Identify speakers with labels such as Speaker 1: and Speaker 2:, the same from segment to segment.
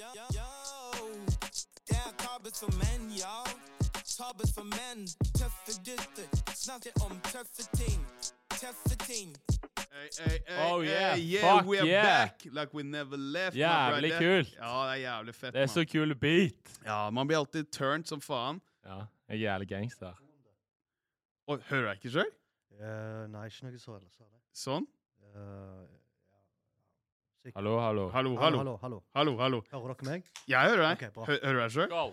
Speaker 1: Yo, yo, det er kabet for menn, yo. Tabet for menn. Tøffe gutter snakker om tøffe ting. Tøffe ting.
Speaker 2: Hey, hey, hey,
Speaker 3: Oh,
Speaker 2: hey,
Speaker 3: yeah.
Speaker 2: yeah,
Speaker 3: Fuck,
Speaker 2: we are
Speaker 3: yeah.
Speaker 2: back like we never left. my
Speaker 3: Jævlig
Speaker 2: brother.
Speaker 3: kult.
Speaker 2: Ja, det er jævlig fett.
Speaker 3: Det
Speaker 2: man.
Speaker 3: er så kul beat.
Speaker 2: Ja, Man blir alltid turned som faen.
Speaker 3: Ja, jeg er jævlig gangster.
Speaker 2: Og hører jeg ikke sjøl?
Speaker 4: Eh, nei, ikke noe så heller, sa det.
Speaker 2: Sånn.
Speaker 4: Eh,
Speaker 3: Hallo, Oh, hallo.
Speaker 2: Hallo,
Speaker 4: hallo,
Speaker 2: hallo.
Speaker 4: hallo, hallo.
Speaker 2: Hallo, hallo.
Speaker 4: Hører dere meg?
Speaker 2: Jeg hører deg.
Speaker 4: Ok, bra.
Speaker 2: Hø- hører du deg sjøl?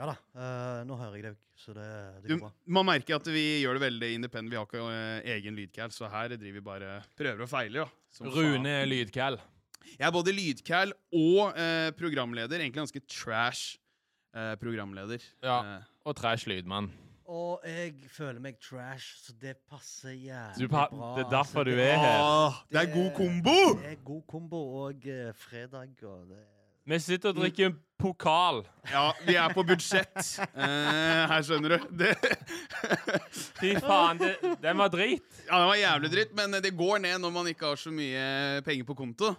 Speaker 4: Ja da, eh, nå hører jeg deg, så det, det
Speaker 2: Du,
Speaker 4: går bra.
Speaker 2: man merker at vi gjør det veldig independent. Vi har ikke eh, egen lydcall, så her driver vi bare prøver og feiler. da. Som faen.
Speaker 3: Rune Lydkall.
Speaker 2: Jeg er både lydcall og eh, programleder. Egentlig ganske trash eh, programleder.
Speaker 3: Ja.
Speaker 2: Eh,
Speaker 3: Og Trash Lydmann.
Speaker 4: Og jeg føler meg trash, så det passer
Speaker 3: Du
Speaker 4: jævlig
Speaker 3: pa-
Speaker 4: bra.
Speaker 3: det er derfor
Speaker 4: altså.
Speaker 3: du er her.
Speaker 2: ah, det er god kombo!
Speaker 4: Det er god kombo og eh, fredag og det
Speaker 3: Vi sitter og drikker en pokal.
Speaker 2: Ja, vi er på budsjett. Eh, her skjønner du. Det,
Speaker 3: Fy faen, det, den var drit.
Speaker 2: ja, det var jævlig dritt, men det går ned når man ikke har så mye penger på konto.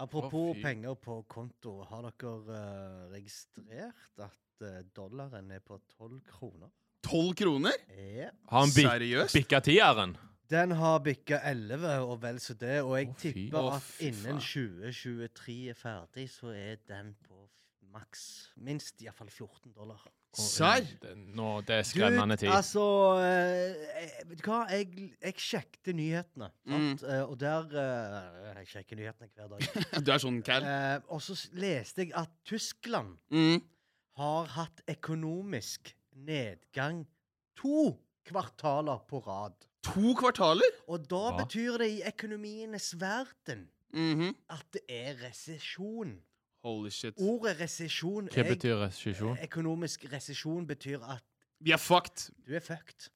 Speaker 4: Apropos
Speaker 3: Å, fy.
Speaker 4: penger på konto, har dere eh, registrert at eh, dollaren er på tolv kroner?
Speaker 2: Tolv kroner?
Speaker 4: Ja.
Speaker 3: Har han bik
Speaker 2: Seriøst?
Speaker 3: bikka tieren?
Speaker 4: Den har bikka 11 og vel så det, og jeg
Speaker 3: Å, fy.
Speaker 4: tipper
Speaker 2: Å,
Speaker 4: at
Speaker 2: fy
Speaker 4: innen
Speaker 2: faen.
Speaker 4: 2023 er ferdig, så er den på f- maks minst iallfall 14 dollar.
Speaker 2: Serr?
Speaker 3: Det- Nå, det er skremmende
Speaker 4: Dude,
Speaker 3: tid.
Speaker 4: Altså, eh, jeg- vet du hva? Jeg, jeg sjekket nyhetene, sant? Eh, og der eh, Jeg sjekker nyhetene hver dag.
Speaker 2: Du er sånn cal.
Speaker 4: Eh, og så s- leste jeg at Tyskland
Speaker 2: Mm.
Speaker 4: har hatt økonomisk nedgang to kvartaler på rad.
Speaker 2: To kvartaler?
Speaker 4: Og da
Speaker 3: Hva?
Speaker 4: betyr det i økonomienes verden
Speaker 2: Mhm.
Speaker 4: at det er resesjon.
Speaker 2: Holy shit.
Speaker 4: Ordet resesjon
Speaker 3: Hva
Speaker 4: jeg-
Speaker 3: betyr resesjon?
Speaker 4: Økonomisk resesjon betyr at
Speaker 2: Vi er fucked.
Speaker 4: du er fucked.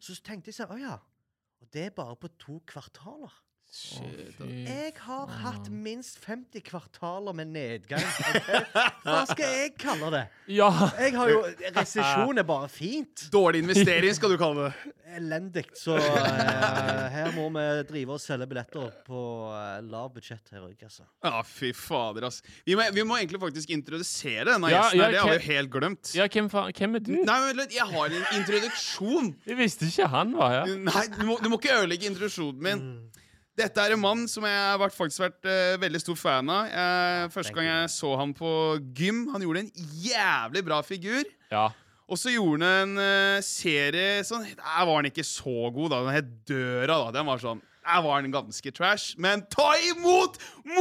Speaker 4: Så s- tenkte jeg sånn Å ja. Og det er bare på to kvartaler.
Speaker 2: Shit.
Speaker 4: Jeg har hatt minst 50 kvartaler med nedgang. ok? Hva skal jeg kalle det?
Speaker 3: Ja!
Speaker 4: Jeg har jo Resesjon er bare fint.
Speaker 2: Dårlig investering, skal du kalle det.
Speaker 4: Elendig. Så eh, her må vi drive og selge billetter på uh, lav budsjett her òg, altså.
Speaker 2: Ja, fy fader, ass. Vi må, vi må egentlig faktisk introdusere denne
Speaker 3: Ja,
Speaker 2: gjesten.
Speaker 3: ja,
Speaker 2: her, det har vi
Speaker 3: Ken-
Speaker 2: jo helt glemt.
Speaker 3: Ja, hvem faen? Hvem er du?
Speaker 2: Nei, men vent litt, jeg har en introduksjon.
Speaker 3: Jeg visste ikke han var her.
Speaker 2: Nei, du må, du må ikke ødelegge introduksjonen min.
Speaker 4: Mm.
Speaker 2: Dette er en mann som jeg har vært, faktisk vært eh, veldig stor fan av. Eh, første gang
Speaker 4: thank you.
Speaker 2: jeg så ham på gym, han gjorde en jævlig bra figur.
Speaker 3: Ja.
Speaker 2: Og så gjorde han en eh, serie sånn Der var han ikke så god, da. Den het Døra, da. Den var sånn Der var han ganske trash. Men ta imot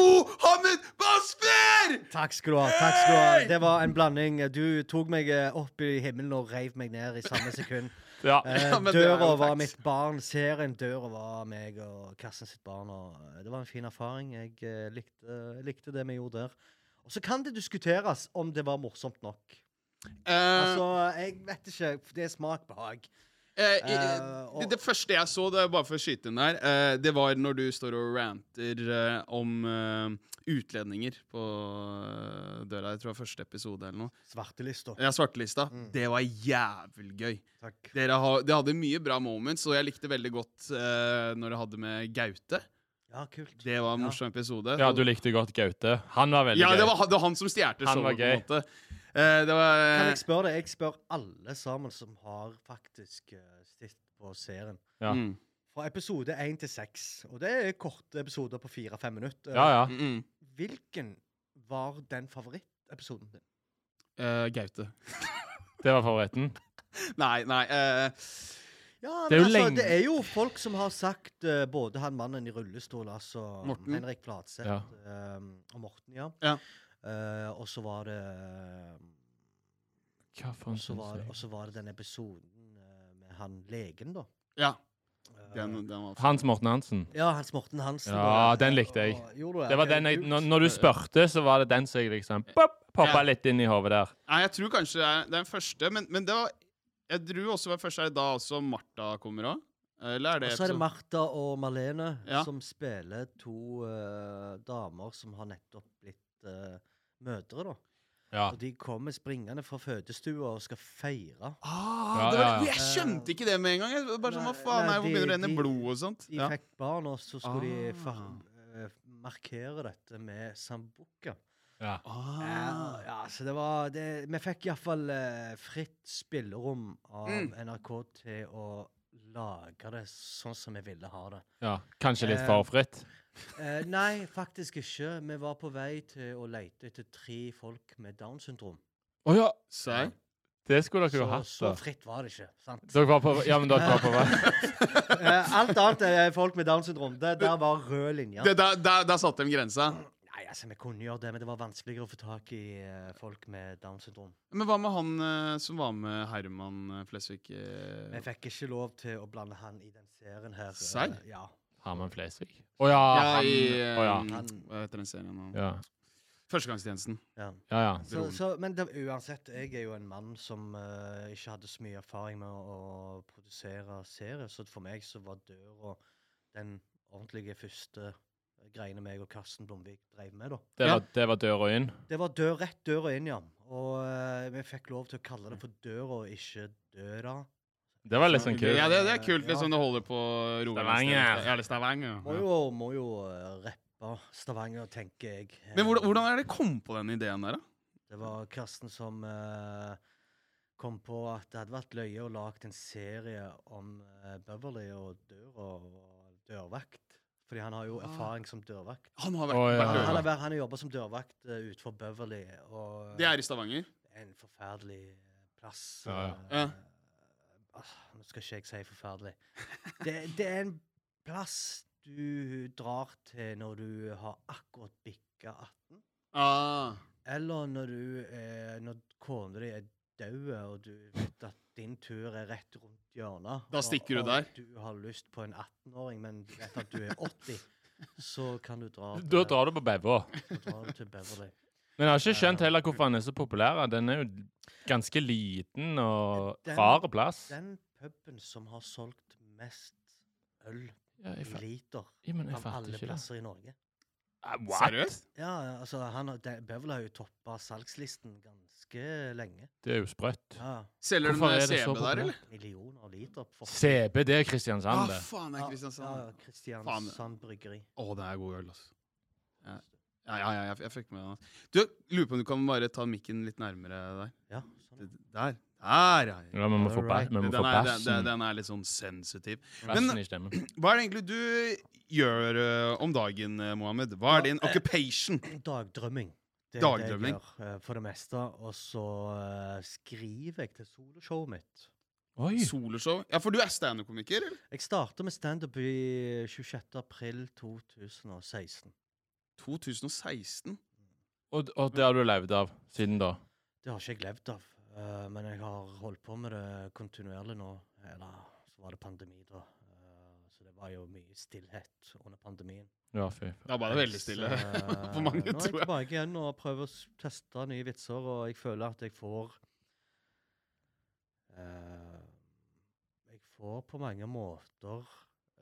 Speaker 2: Mohammed Basfer!
Speaker 4: Takk skal du ha. takk skal du ha. Det var en blanding. Du tok meg eh, opp i himmelen og reiv meg ned i samme sekund.
Speaker 3: ja.
Speaker 4: Eh,
Speaker 2: Ja, men det er jo
Speaker 4: døra var
Speaker 2: facts.
Speaker 4: mitt barn. Serien Døra var meg og Karsten sitt barn. Og eh, det var en fin erfaring. Jeg eh, likte, likte det vi gjorde der. Og så kan det diskuteres om det var morsomt nok.
Speaker 2: Eh,
Speaker 4: Altså, jeg vet ikke. Det er smak behag.
Speaker 2: Eh, i-
Speaker 4: Eh,
Speaker 2: det,
Speaker 4: og-
Speaker 2: det første jeg så, det er bare for å skyte inn der, eh, det var når du står og ranter eh, om eh, utlendinger på eh, døra. Jeg tror det var første episode eller noe.
Speaker 4: Svartelista.
Speaker 2: Ja, Svartelista.
Speaker 4: Mm.
Speaker 2: Det var jævlig gøy.
Speaker 4: Takk.
Speaker 2: Dere ha, det hadde mye bra moments, og jeg likte veldig godt eh, når dere hadde med Gaute.
Speaker 4: Ja, kult.
Speaker 2: Det var en
Speaker 4: Ja.
Speaker 2: morsom episode.
Speaker 3: ja, du likte godt Gaute. Han var veldig
Speaker 2: ja, det
Speaker 3: gøy.
Speaker 2: var, han- det var han som stjal
Speaker 3: Han var
Speaker 2: showet, på en
Speaker 3: gøy.
Speaker 2: måte. Eh, det var
Speaker 4: Kan jeg spørre deg? Jeg spør alle sammen som har faktisk uh, stilt på serien.
Speaker 3: Ja.
Speaker 2: mm,
Speaker 4: Fra episode 1 til 6. Og det er korte episoder på 4-5 minutter.
Speaker 3: Ja, ja.
Speaker 2: mm, mm.
Speaker 4: Hvilken var den favorittepisoden din?
Speaker 2: Eh, Gaute.
Speaker 3: Det var favoritten.
Speaker 2: Nei, nei. eh,
Speaker 4: Ja,
Speaker 3: Det er
Speaker 4: men
Speaker 3: jo
Speaker 4: altså,
Speaker 3: lenge-
Speaker 4: det er jo folk som har sagt eh, både han mannen i rullestol, altså
Speaker 2: Morten.
Speaker 4: Henrik Flatseth
Speaker 3: Ja.
Speaker 4: ehm, og Morten, ja.
Speaker 2: Ja.
Speaker 4: Eh, og så var det ehm,
Speaker 3: Hva
Speaker 4: Og
Speaker 3: faen
Speaker 4: så var, og
Speaker 3: syns jeg?
Speaker 4: så var det den episoden eh, med han legen, da.
Speaker 2: ja.
Speaker 4: Eh,
Speaker 2: Den, den var
Speaker 3: Hans Morten Hansen.
Speaker 4: ja, Hans Morten Hansen.
Speaker 3: Ja,
Speaker 4: da.
Speaker 3: den likte jeg.
Speaker 4: Og- Gjorde du
Speaker 3: Det var
Speaker 4: Ok,
Speaker 3: den jeg,
Speaker 4: kult.
Speaker 3: når, når du spurte, så var det den som jeg liksom pop, poppa
Speaker 2: Ja.
Speaker 3: litt inn i hodet der.
Speaker 2: Nei, jeg tror kanskje det er det er den første, men, men det var Jeg tror også den første er det da også Martha kommer òg? Eller er det
Speaker 4: Og så er det
Speaker 2: episode-
Speaker 4: Martha og Marlene
Speaker 2: Ja.
Speaker 4: som spiller to eh, damer som har nettopp blitt eh, mødre, da.
Speaker 3: Ja.
Speaker 4: Og de kommer springende fra fødestua og skal feire.
Speaker 2: ah,
Speaker 3: Ja,
Speaker 2: det var,
Speaker 3: ja, ja.
Speaker 2: Jeg skjønte ikke det med en gang. Jeg var bare sånn,
Speaker 4: Nei,
Speaker 2: hva faen,
Speaker 4: nei,
Speaker 2: nei, hvor begynner det å
Speaker 4: de-
Speaker 2: renne
Speaker 4: de-
Speaker 2: blod og sånt?
Speaker 4: De
Speaker 2: Ja.
Speaker 4: fikk barn, og så skulle de fa
Speaker 2: Ah.
Speaker 4: eh, markere dette med sambuca.
Speaker 3: Ja.
Speaker 2: Ah.
Speaker 4: altså, det var det, Vi fikk iallfall uh, fritt spillerom av
Speaker 2: Mm.
Speaker 4: NRK til å lage det sånn som vi ville ha det.
Speaker 3: Ja, Kanskje litt
Speaker 4: Eh,
Speaker 3: for fritt.
Speaker 4: Eh, nei, faktisk ikke. Vi var på vei til å lete etter tre folk med Downs syndrom.
Speaker 3: Å ja!
Speaker 2: Serr?
Speaker 3: Det skulle dere
Speaker 4: Så,
Speaker 3: jo hatt.
Speaker 4: så
Speaker 3: da.
Speaker 4: fritt var det ikke. sant?
Speaker 3: Dere var på, ja, men dere var på vei.
Speaker 4: Eh, alt annet er folk med Downs syndrom. Det der var rød linje.
Speaker 2: Det- Der, der, der satte de grensa.
Speaker 4: Nei, altså, Vi kunne gjøre det, men det var vanskeligere å få tak i eh, folk med Downs syndrom.
Speaker 2: Men hva med han eh, som var med Herman eh, Flesvig? eh?
Speaker 4: Vi fikk ikke lov til å blande han i den serien her. eh,
Speaker 2: Serr?
Speaker 4: Ja.
Speaker 3: Herman Flesvig. Å ja,
Speaker 2: ja,
Speaker 3: han.
Speaker 2: i
Speaker 3: Å ja.
Speaker 2: eh,
Speaker 4: Han-
Speaker 2: Hva heter den serien? nå?
Speaker 3: Ja,
Speaker 2: Førstegangstjenesten.
Speaker 4: ja.
Speaker 3: ja. ja.
Speaker 4: Så,
Speaker 2: Broren.
Speaker 4: så, men det, uansett, jeg er jo en mann som eh, ikke hadde så mye erfaring med å, å produsere serier, så for meg så var døra den ordentlige første greiene meg og Karsten Blomvik drev med, da.
Speaker 3: Det,
Speaker 2: Ja.
Speaker 3: var, det var døra inn.
Speaker 4: Det var dør, rett døra inn, ja. Og eh, vi fikk lov til å kalle det for døra, og ikke døra.
Speaker 3: Det var litt sånn kult.
Speaker 2: Ja, det, det er kult.
Speaker 4: Ja.
Speaker 2: Liksom, det holder på Rogaland.
Speaker 3: Stavanger.
Speaker 2: Ja, eller Stavanger.
Speaker 4: Må
Speaker 2: Ja.
Speaker 4: jo, må jo eh, rappe Stavanger, tenker jeg. Eh,
Speaker 2: Men hvordan, hvordan er det kom på den ideen der, da?
Speaker 4: Det var Karsten som eh, kom på at det hadde vært løye å lage en serie om eh, Beverly og døra og dørvakt. Fordi han har jo
Speaker 2: Ah.
Speaker 4: erfaring som dørvakt.
Speaker 2: Han har vært,
Speaker 3: Å, ja.
Speaker 2: vært
Speaker 4: Han, han,
Speaker 2: død.
Speaker 4: har vært- han har jobba som dørvakt uh, utenfor Beverly, og eh,
Speaker 2: Det er i Stavanger.
Speaker 4: en forferdelig eh, plass.
Speaker 3: Ja, ja.
Speaker 4: eh,
Speaker 2: Ja.
Speaker 4: ah, nå skal ikke jeg si forferdelig. Det, det er en plass du drar til når du har akkurat bikka 18.
Speaker 2: Ah.
Speaker 4: Eller når du er, når kona di er død, og du vet at din tur er rett rundt hjørnet.
Speaker 2: Da stikker du
Speaker 4: og,
Speaker 2: der.
Speaker 4: Og du har lyst på en 18-åring, men du vet at du er 80, så kan du dra
Speaker 3: Da drar du på Bevo.
Speaker 4: så drar du til Beverly.
Speaker 3: Men jeg har ikke skjønt heller hvorfor han er så populær. Den er jo ganske liten og
Speaker 4: Den-
Speaker 3: rar plass.
Speaker 4: Den puben som har solgt mest øl
Speaker 3: Ja,
Speaker 4: i
Speaker 3: jeg fa-
Speaker 4: liter
Speaker 3: ja, men jeg
Speaker 4: av
Speaker 3: fatter
Speaker 4: alle
Speaker 3: ikke det.
Speaker 4: plasser i Norge.
Speaker 3: Ah, what?
Speaker 2: Seriøst?
Speaker 4: Ja, ja, altså, han, har- de- Beverly har jo toppa salgslisten ganske lenge.
Speaker 3: Det er jo sprøtt.
Speaker 4: Ja,
Speaker 2: Selger
Speaker 3: Hvorfor
Speaker 2: de
Speaker 3: er
Speaker 2: CB
Speaker 3: det så
Speaker 2: der,
Speaker 3: populært?
Speaker 2: eller?
Speaker 4: Millioner liter. for-
Speaker 3: CB, det er Kristiansand,
Speaker 2: Ah,
Speaker 3: det.
Speaker 2: faen, det
Speaker 4: Ja,
Speaker 2: er Kristiansand.
Speaker 4: Ja, ja, Kristiansand Bryggeri.
Speaker 2: Å, det er god øl, altså. Ja, ja, ja, ja jeg, jeg fikk med den. altså. Du, lurer på om du kan bare ta mikken litt nærmere deg.
Speaker 4: Ja, sånn.
Speaker 2: Det- Der. Der, ja.
Speaker 3: Ja, vi må få, ba
Speaker 4: Alright.
Speaker 3: vi må
Speaker 2: Den
Speaker 3: få
Speaker 2: er, den, den,
Speaker 3: bassen.
Speaker 2: den er litt sånn sensitiv.
Speaker 3: Bassen i stemmen.
Speaker 2: Hva er det egentlig du gjør eh, om dagen, eh, Mohammed? Hva er din occupation?
Speaker 4: Dagdrømming. Det
Speaker 2: Dagdrømming.
Speaker 4: er det jeg gjør eh, for det meste. Og så eh, skriver jeg til soloshowet mitt.
Speaker 3: Oi!
Speaker 2: Soloshow? Ja, for du er standup-komiker? eller?
Speaker 4: Jeg starter med standup i 26. april 2016.
Speaker 2: 2016?
Speaker 3: Og, og det har du levd av siden da?
Speaker 4: Det har ikke jeg levd av, eh, men jeg har holdt på med det kontinuerlig nå. Eller så var det pandemi, da. Eh, Så det var jo mye stillhet under pandemien.
Speaker 3: Ja, fy. faen.
Speaker 2: Da var det veldig stille.
Speaker 4: Så,
Speaker 2: For mange,
Speaker 4: eh, Nå er
Speaker 2: tror
Speaker 4: jeg
Speaker 2: jeg.
Speaker 4: tilbake igjen og prøver å s- teste nye vitser, og jeg føler at jeg får eh, Jeg får på mange måter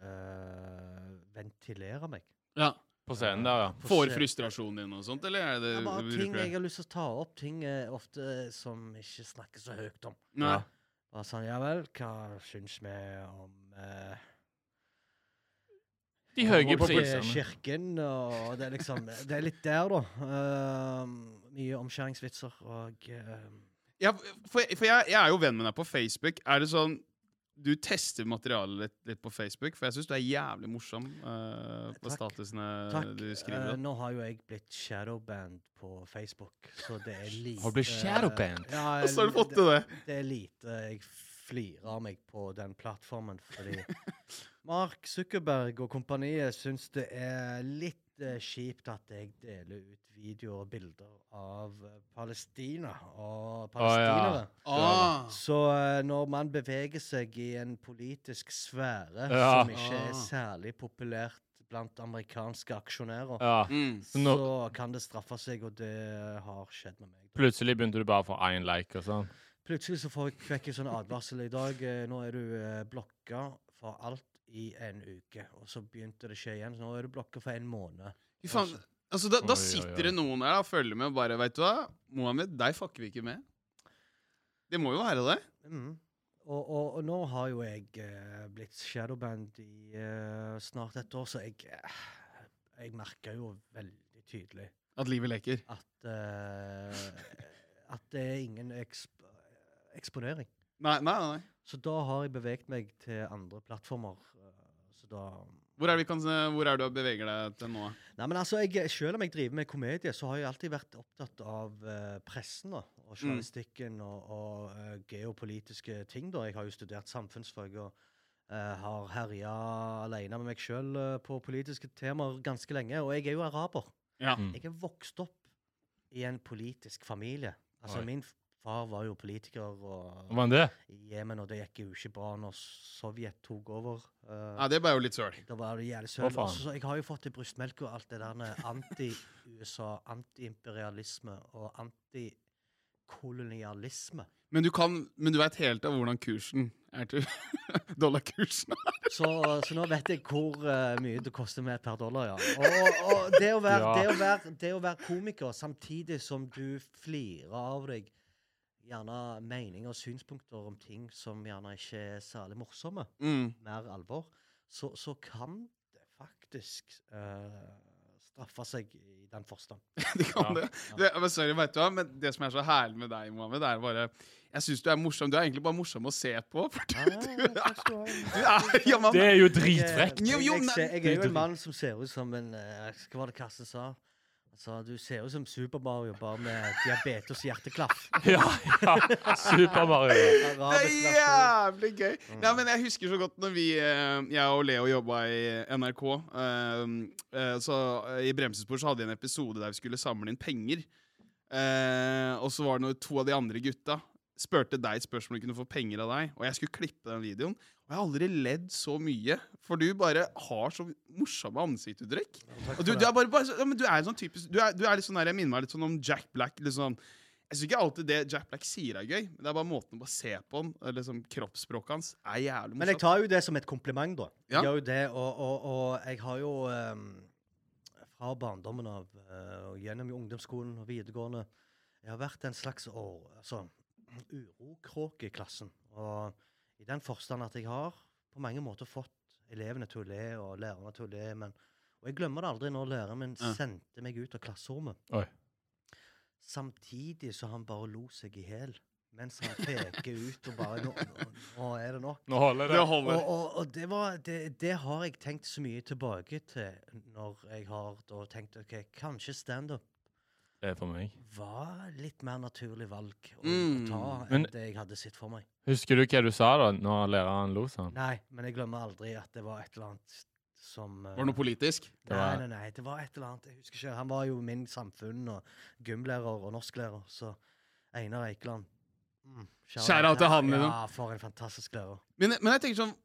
Speaker 4: eh, ventilere meg.
Speaker 2: Ja.
Speaker 3: På scenen der, ja.
Speaker 4: På
Speaker 2: Får
Speaker 4: scenen.
Speaker 2: frustrasjonen din og sånt, eller er det
Speaker 4: Det er bare
Speaker 2: du
Speaker 4: ting
Speaker 2: bruker
Speaker 4: jeg
Speaker 2: det?
Speaker 4: har lyst til å ta opp, ting eh, ofte som ikke snakkes så høyt om.
Speaker 2: Nei.
Speaker 3: Ja.
Speaker 4: Bare sånn, ja vel, hva syns vi om eh,
Speaker 3: De høye
Speaker 4: Folk i
Speaker 3: prisene.
Speaker 4: Kirken, og det er liksom Det er litt der, da. Ehm, mye omskjæringsvitser og ehm,
Speaker 2: Ja, for for jeg, jeg er jo venn med deg på Facebook. Er det sånn du tester materialet litt, litt på Facebook? For jeg syns du er jævlig morsom eh, på
Speaker 4: Takk.
Speaker 2: statusene
Speaker 4: Takk.
Speaker 2: du
Speaker 4: Eh,
Speaker 2: skriver. da.
Speaker 4: nå har jo jeg blitt shadowband på Facebook, så det er lite
Speaker 3: Har du blitt shadowband?
Speaker 4: Ja,
Speaker 2: Hvordan har du fått
Speaker 4: det?
Speaker 2: til det?
Speaker 4: Det er lite jeg flirer av meg på den plattformen, fordi Mark Zuckerberg og kompaniet syns det er litt eh, kjipt at jeg deler ut videoer og bilder av eh, Palestina og palestinere.
Speaker 2: Ah.
Speaker 4: Så eh, når man beveger seg i en politisk sfære
Speaker 3: Ja.
Speaker 4: som ikke
Speaker 2: Ah.
Speaker 4: er særlig populært blant amerikanske aksjonærer,
Speaker 3: Ja.
Speaker 2: Mm.
Speaker 3: Så nå-
Speaker 4: så kan det straffe seg, og det har skjedd med meg. da.
Speaker 3: Plutselig begynte du bare å få én like og sånn.
Speaker 4: Plutselig så får jeg, fikk jeg sånn advarsel i dag. eh, Nå er du eh, blokka for alt i en uke. Og så begynte det å skje igjen. Så nå er du blokka for en måned.
Speaker 2: Fy faen. Altså, da, da
Speaker 3: Oi, oi,
Speaker 2: sitter
Speaker 3: oi.
Speaker 2: det noen her og følger med og bare Veit du hva, Mohammed, deg fucker vi ikke med. Det må jo være det.
Speaker 4: Mm. Og, og, og nå har jo jeg eh, blitt shadowband i eh, snart et år, så jeg, eh, jeg merker jo veldig tydelig
Speaker 2: At livet leker.
Speaker 4: at eh, det er ingen eksp eksponering.
Speaker 2: Nei, nei, nei. nei.
Speaker 4: Så da har jeg beveget meg til andre plattformer. eh, Så da
Speaker 2: Hvor er, det vi kan, se- hvor er det du beveger deg til nå?
Speaker 4: Nei, men altså, jeg, Selv om jeg driver med komedie, så har jeg alltid vært opptatt av eh, pressen da, og journalistikken og, og eh, geopolitiske ting. da. Jeg har jo studert samfunnsfag og eh, har herja alene med meg sjøl på politiske temaer ganske lenge. Og jeg er jo araber.
Speaker 2: Ja.
Speaker 3: Mm.
Speaker 4: Jeg er vokst opp i en politisk familie. Altså,
Speaker 3: Oi.
Speaker 4: Min far var jo politiker og
Speaker 3: Var han det?
Speaker 4: i Jemen, og det gikk jo ikke bra når Sovjet tok over. eh,
Speaker 2: Nei, det ble jo litt søl.
Speaker 4: da var det jævlig
Speaker 3: Å,
Speaker 4: søl.
Speaker 3: faen.
Speaker 4: Også, så jeg har jo fått i brystmelk og alt det der anti-USA, anti-imperialisme og anti-kolonialisme.
Speaker 2: Men du kan, men du veit helt av hvordan kursen er til dollarkursen.
Speaker 4: Så, så nå vet jeg hvor eh, mye det koster med per dollar, ja. Og, og det, å være,
Speaker 3: Ja.
Speaker 4: det, å være, det å være komiker samtidig som du flirer av deg gjerne meninger og synspunkter om ting som gjerne ikke er særlig morsomme,
Speaker 2: Mm.
Speaker 4: mer alvor, så, så kan det faktisk eh, straffe seg i den forstand.
Speaker 2: De kan
Speaker 3: Ja,
Speaker 2: det. det men sorry, vet du hva, men det som er så herlig med deg, Mohammed, er bare Jeg syns du er morsom. Du er egentlig bare morsom å se på. For du,
Speaker 4: Ja,
Speaker 2: du,
Speaker 4: ja,
Speaker 2: er,
Speaker 4: Ah, takk skal du ha.
Speaker 2: du er ja, man,
Speaker 3: Det er jo
Speaker 4: Jeg-
Speaker 3: dritfrekt!
Speaker 2: Jo, jo,
Speaker 4: jeg,
Speaker 2: men-
Speaker 4: ser- jeg er jo en mann som ser ut som en eh, Hva var det Karsten sa? Han sa du ser ut som Super Mario, bare med diabetes og hjerteklaff.
Speaker 3: Ja, ja. Super Mario.
Speaker 2: Det er
Speaker 4: Arabisk versjon.
Speaker 2: jævlig gøy! Nei, men Jeg husker så godt når vi, eh, jeg og Leo jobba i NRK. eh, eh, Så eh, I Bremsespor så hadde vi en episode der vi skulle samle inn penger. Eh, Og så var det når to av de andre gutta spurte deg et spørsmål om du kunne få penger av deg. Og jeg skulle klippe den videoen. Og jeg har aldri ledd så mye, for du bare har så morsomme ansiktsuttrykk. Og du,
Speaker 4: Takk for
Speaker 2: du
Speaker 4: det.
Speaker 2: er bare, bare så- ja, men du er en sånn typisk Du er, du er litt sånn der, Jeg minner meg litt sånn om Jack Black. Litt sånn, jeg syns ikke alltid det Jack Black sier er gøy, men det er bare måten å bare se på han eller liksom Kroppsspråket hans er jævlig
Speaker 4: Men jeg
Speaker 2: morsomt.
Speaker 4: tar jo det som et kompliment, da.
Speaker 2: Ja.
Speaker 4: Jeg gjør jo det, og, og, og jeg har jo eh, fra barndommen av, eh, og gjennom ungdomsskolen og videregående, jeg har vært en slags år, altså, urokråke i klassen. Og i den forstand at jeg har på mange måter fått elevene til å le og lærerne til å le, men og jeg glemmer det aldri når læreren min
Speaker 2: Ja.
Speaker 4: sendte meg ut av klasserommet.
Speaker 3: Oi.
Speaker 4: Samtidig så han bare lo seg i hæl mens han peker ut og bare nå, nå, nå er det nok.
Speaker 3: Nå holder det.
Speaker 2: Det holder.
Speaker 4: Og, og, og det, var, det, det har jeg tenkt så mye tilbake til når jeg har da tenkt ok, kanskje standup
Speaker 3: Det er for meg.
Speaker 4: var litt mer naturlig valg å,
Speaker 2: Mm,
Speaker 4: å ta enn
Speaker 3: men-
Speaker 4: det jeg hadde sett for meg.
Speaker 3: Husker du hva du sa da når læreren lo sånn?
Speaker 4: Nei, men jeg glemmer aldri at det var et eller annet som eh,
Speaker 2: Var det noe politisk?
Speaker 3: Det var-
Speaker 4: Nei, nei, nei, det var et eller annet. Jeg husker ikke. Han var jo min samfunn og gymlærer og norsklærer, så Einar Eikeland. Mm, shout
Speaker 2: Shout out til han,
Speaker 4: Ja,
Speaker 2: liksom.
Speaker 4: for en fantastisk lærer.
Speaker 2: Men, men jeg tenker sånn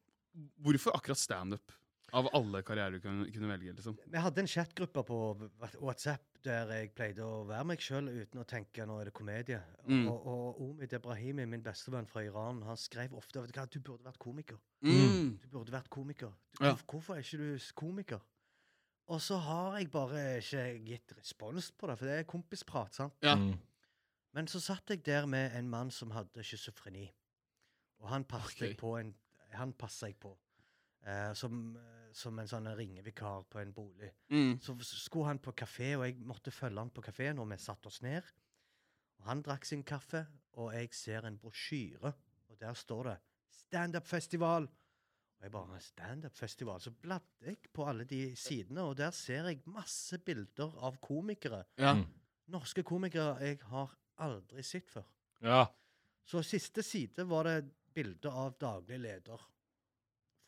Speaker 2: Hvorfor akkurat standup? Av alle karrierer du kunne, kunne velge, liksom.
Speaker 4: Vi hadde en chatgruppe på WhatsApp der jeg pleide å være meg sjøl uten å tenke nå er det komedie.
Speaker 2: Mm.
Speaker 4: Og, og Omid Ebrahimi, min bestevenn fra Iran, han skrev ofte vet du hva, du burde vært komiker.
Speaker 2: Mm.
Speaker 4: Du burde vært komiker. Du,
Speaker 2: Ja.
Speaker 4: hvorf- Hvorfor er ikke du s- komiker? Og så har jeg bare ikke gitt respons på det, for det er kompisprat. sant?
Speaker 2: Ja.
Speaker 3: Mm.
Speaker 4: Men så satt jeg der med en mann som hadde schizofreni. Og han passet
Speaker 2: Ok.
Speaker 4: jeg på. En, han passet jeg på. eh, som, som en sånn ringevikar på en bolig.
Speaker 2: Mm.
Speaker 4: Så s- skulle han på kafé, og jeg måtte følge han på kafé når vi satte oss ned. Og han drakk sin kaffe, og jeg ser en brosjyre, og der står det 'Standup-festival'. Og jeg bare 'Standup-festival'. Så bladde jeg på alle de sidene, og der ser jeg masse bilder av komikere.
Speaker 2: Ja.
Speaker 3: Mm.
Speaker 4: Norske komikere jeg har aldri sett før.
Speaker 3: ja.
Speaker 4: Så siste side var det bilde av daglig leder,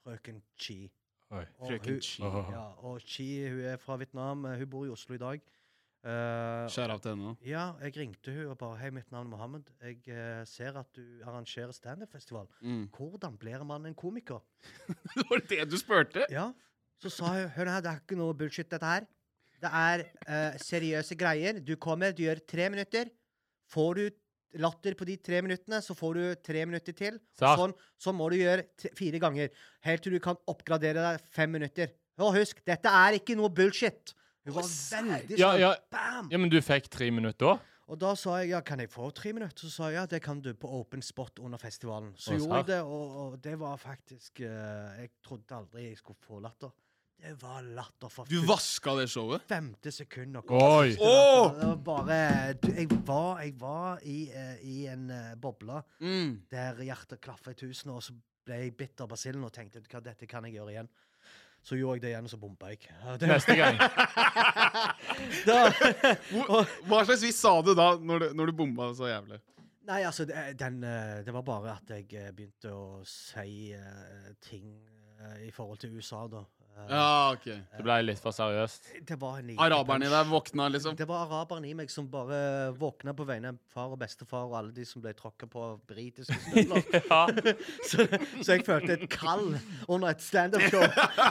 Speaker 4: frøken Chi.
Speaker 3: Oi.
Speaker 4: Og
Speaker 2: Frøken
Speaker 4: hun-
Speaker 2: Chi.
Speaker 3: Åh.
Speaker 4: ja, og Chi hun er fra Vietnam. eh, Hun bor i Oslo i dag. Eh,
Speaker 2: Skjær av til henne nå.
Speaker 4: ja, jeg ringte hun og bare Hei, mitt navn er Mohammed. Jeg eh, ser at du arrangerer standup-festival.
Speaker 2: Mm.
Speaker 4: Hvordan blir man en komiker?
Speaker 2: det var det du spurte?
Speaker 4: Ja. Så sa hun Hør her, det er ikke noe bullshit, dette her. Det er eh, seriøse greier. Du kommer, du gjør tre minutter. Får du latter på de tre minuttene, så får du tre minutter til.
Speaker 3: Sa-
Speaker 4: Sånn, sånn må du gjøre t fire ganger. Helt til du kan oppgradere deg fem minutter. Og husk, dette er ikke noe bullshit. Hun var veldig
Speaker 3: Ja,
Speaker 4: sånn
Speaker 3: ja.
Speaker 4: bam!
Speaker 3: ja, men du fikk tre minutter da?
Speaker 4: Og da sa jeg ja, kan jeg få tre minutter? Så sa jeg ja, det kan du på open spot under festivalen. Så
Speaker 3: Og
Speaker 4: gjorde
Speaker 3: sær.
Speaker 4: jeg det, og, og det var faktisk eh, Jeg trodde aldri jeg skulle få latter. Det var latter for
Speaker 2: Du vaska det showet?
Speaker 4: femte sekund. og-
Speaker 3: Oi.
Speaker 4: Det var bare du, jeg, var, jeg var i, eh, i en eh, boble
Speaker 2: Mm.
Speaker 4: der hjertet klaffa i tusen, og så ble jeg bitter av basillen og tenkte hva dette kan jeg gjøre igjen. Så gjorde jeg det igjen, og så bomba jeg. Ja, Det,
Speaker 3: Neste gang.
Speaker 4: da,
Speaker 2: Hvor- Hva slags vis sa du da, når du, når du bomba så jævlig?
Speaker 4: Nei, altså, det- den, eh, det var bare at jeg eh, begynte å si eh, ting eh, i forhold til USA, da. Eh,
Speaker 2: Ja, ok.
Speaker 3: Det ble litt for seriøst.
Speaker 4: Det var en liten
Speaker 2: Araberen i
Speaker 4: punch.
Speaker 2: deg våkna, liksom?
Speaker 4: Det var araberen i meg som bare våkna på vegne av far og bestefar og alle de som ble tråkka på av britiske støvler.
Speaker 3: Ja.
Speaker 4: så, så jeg følte et kall under et standup-show.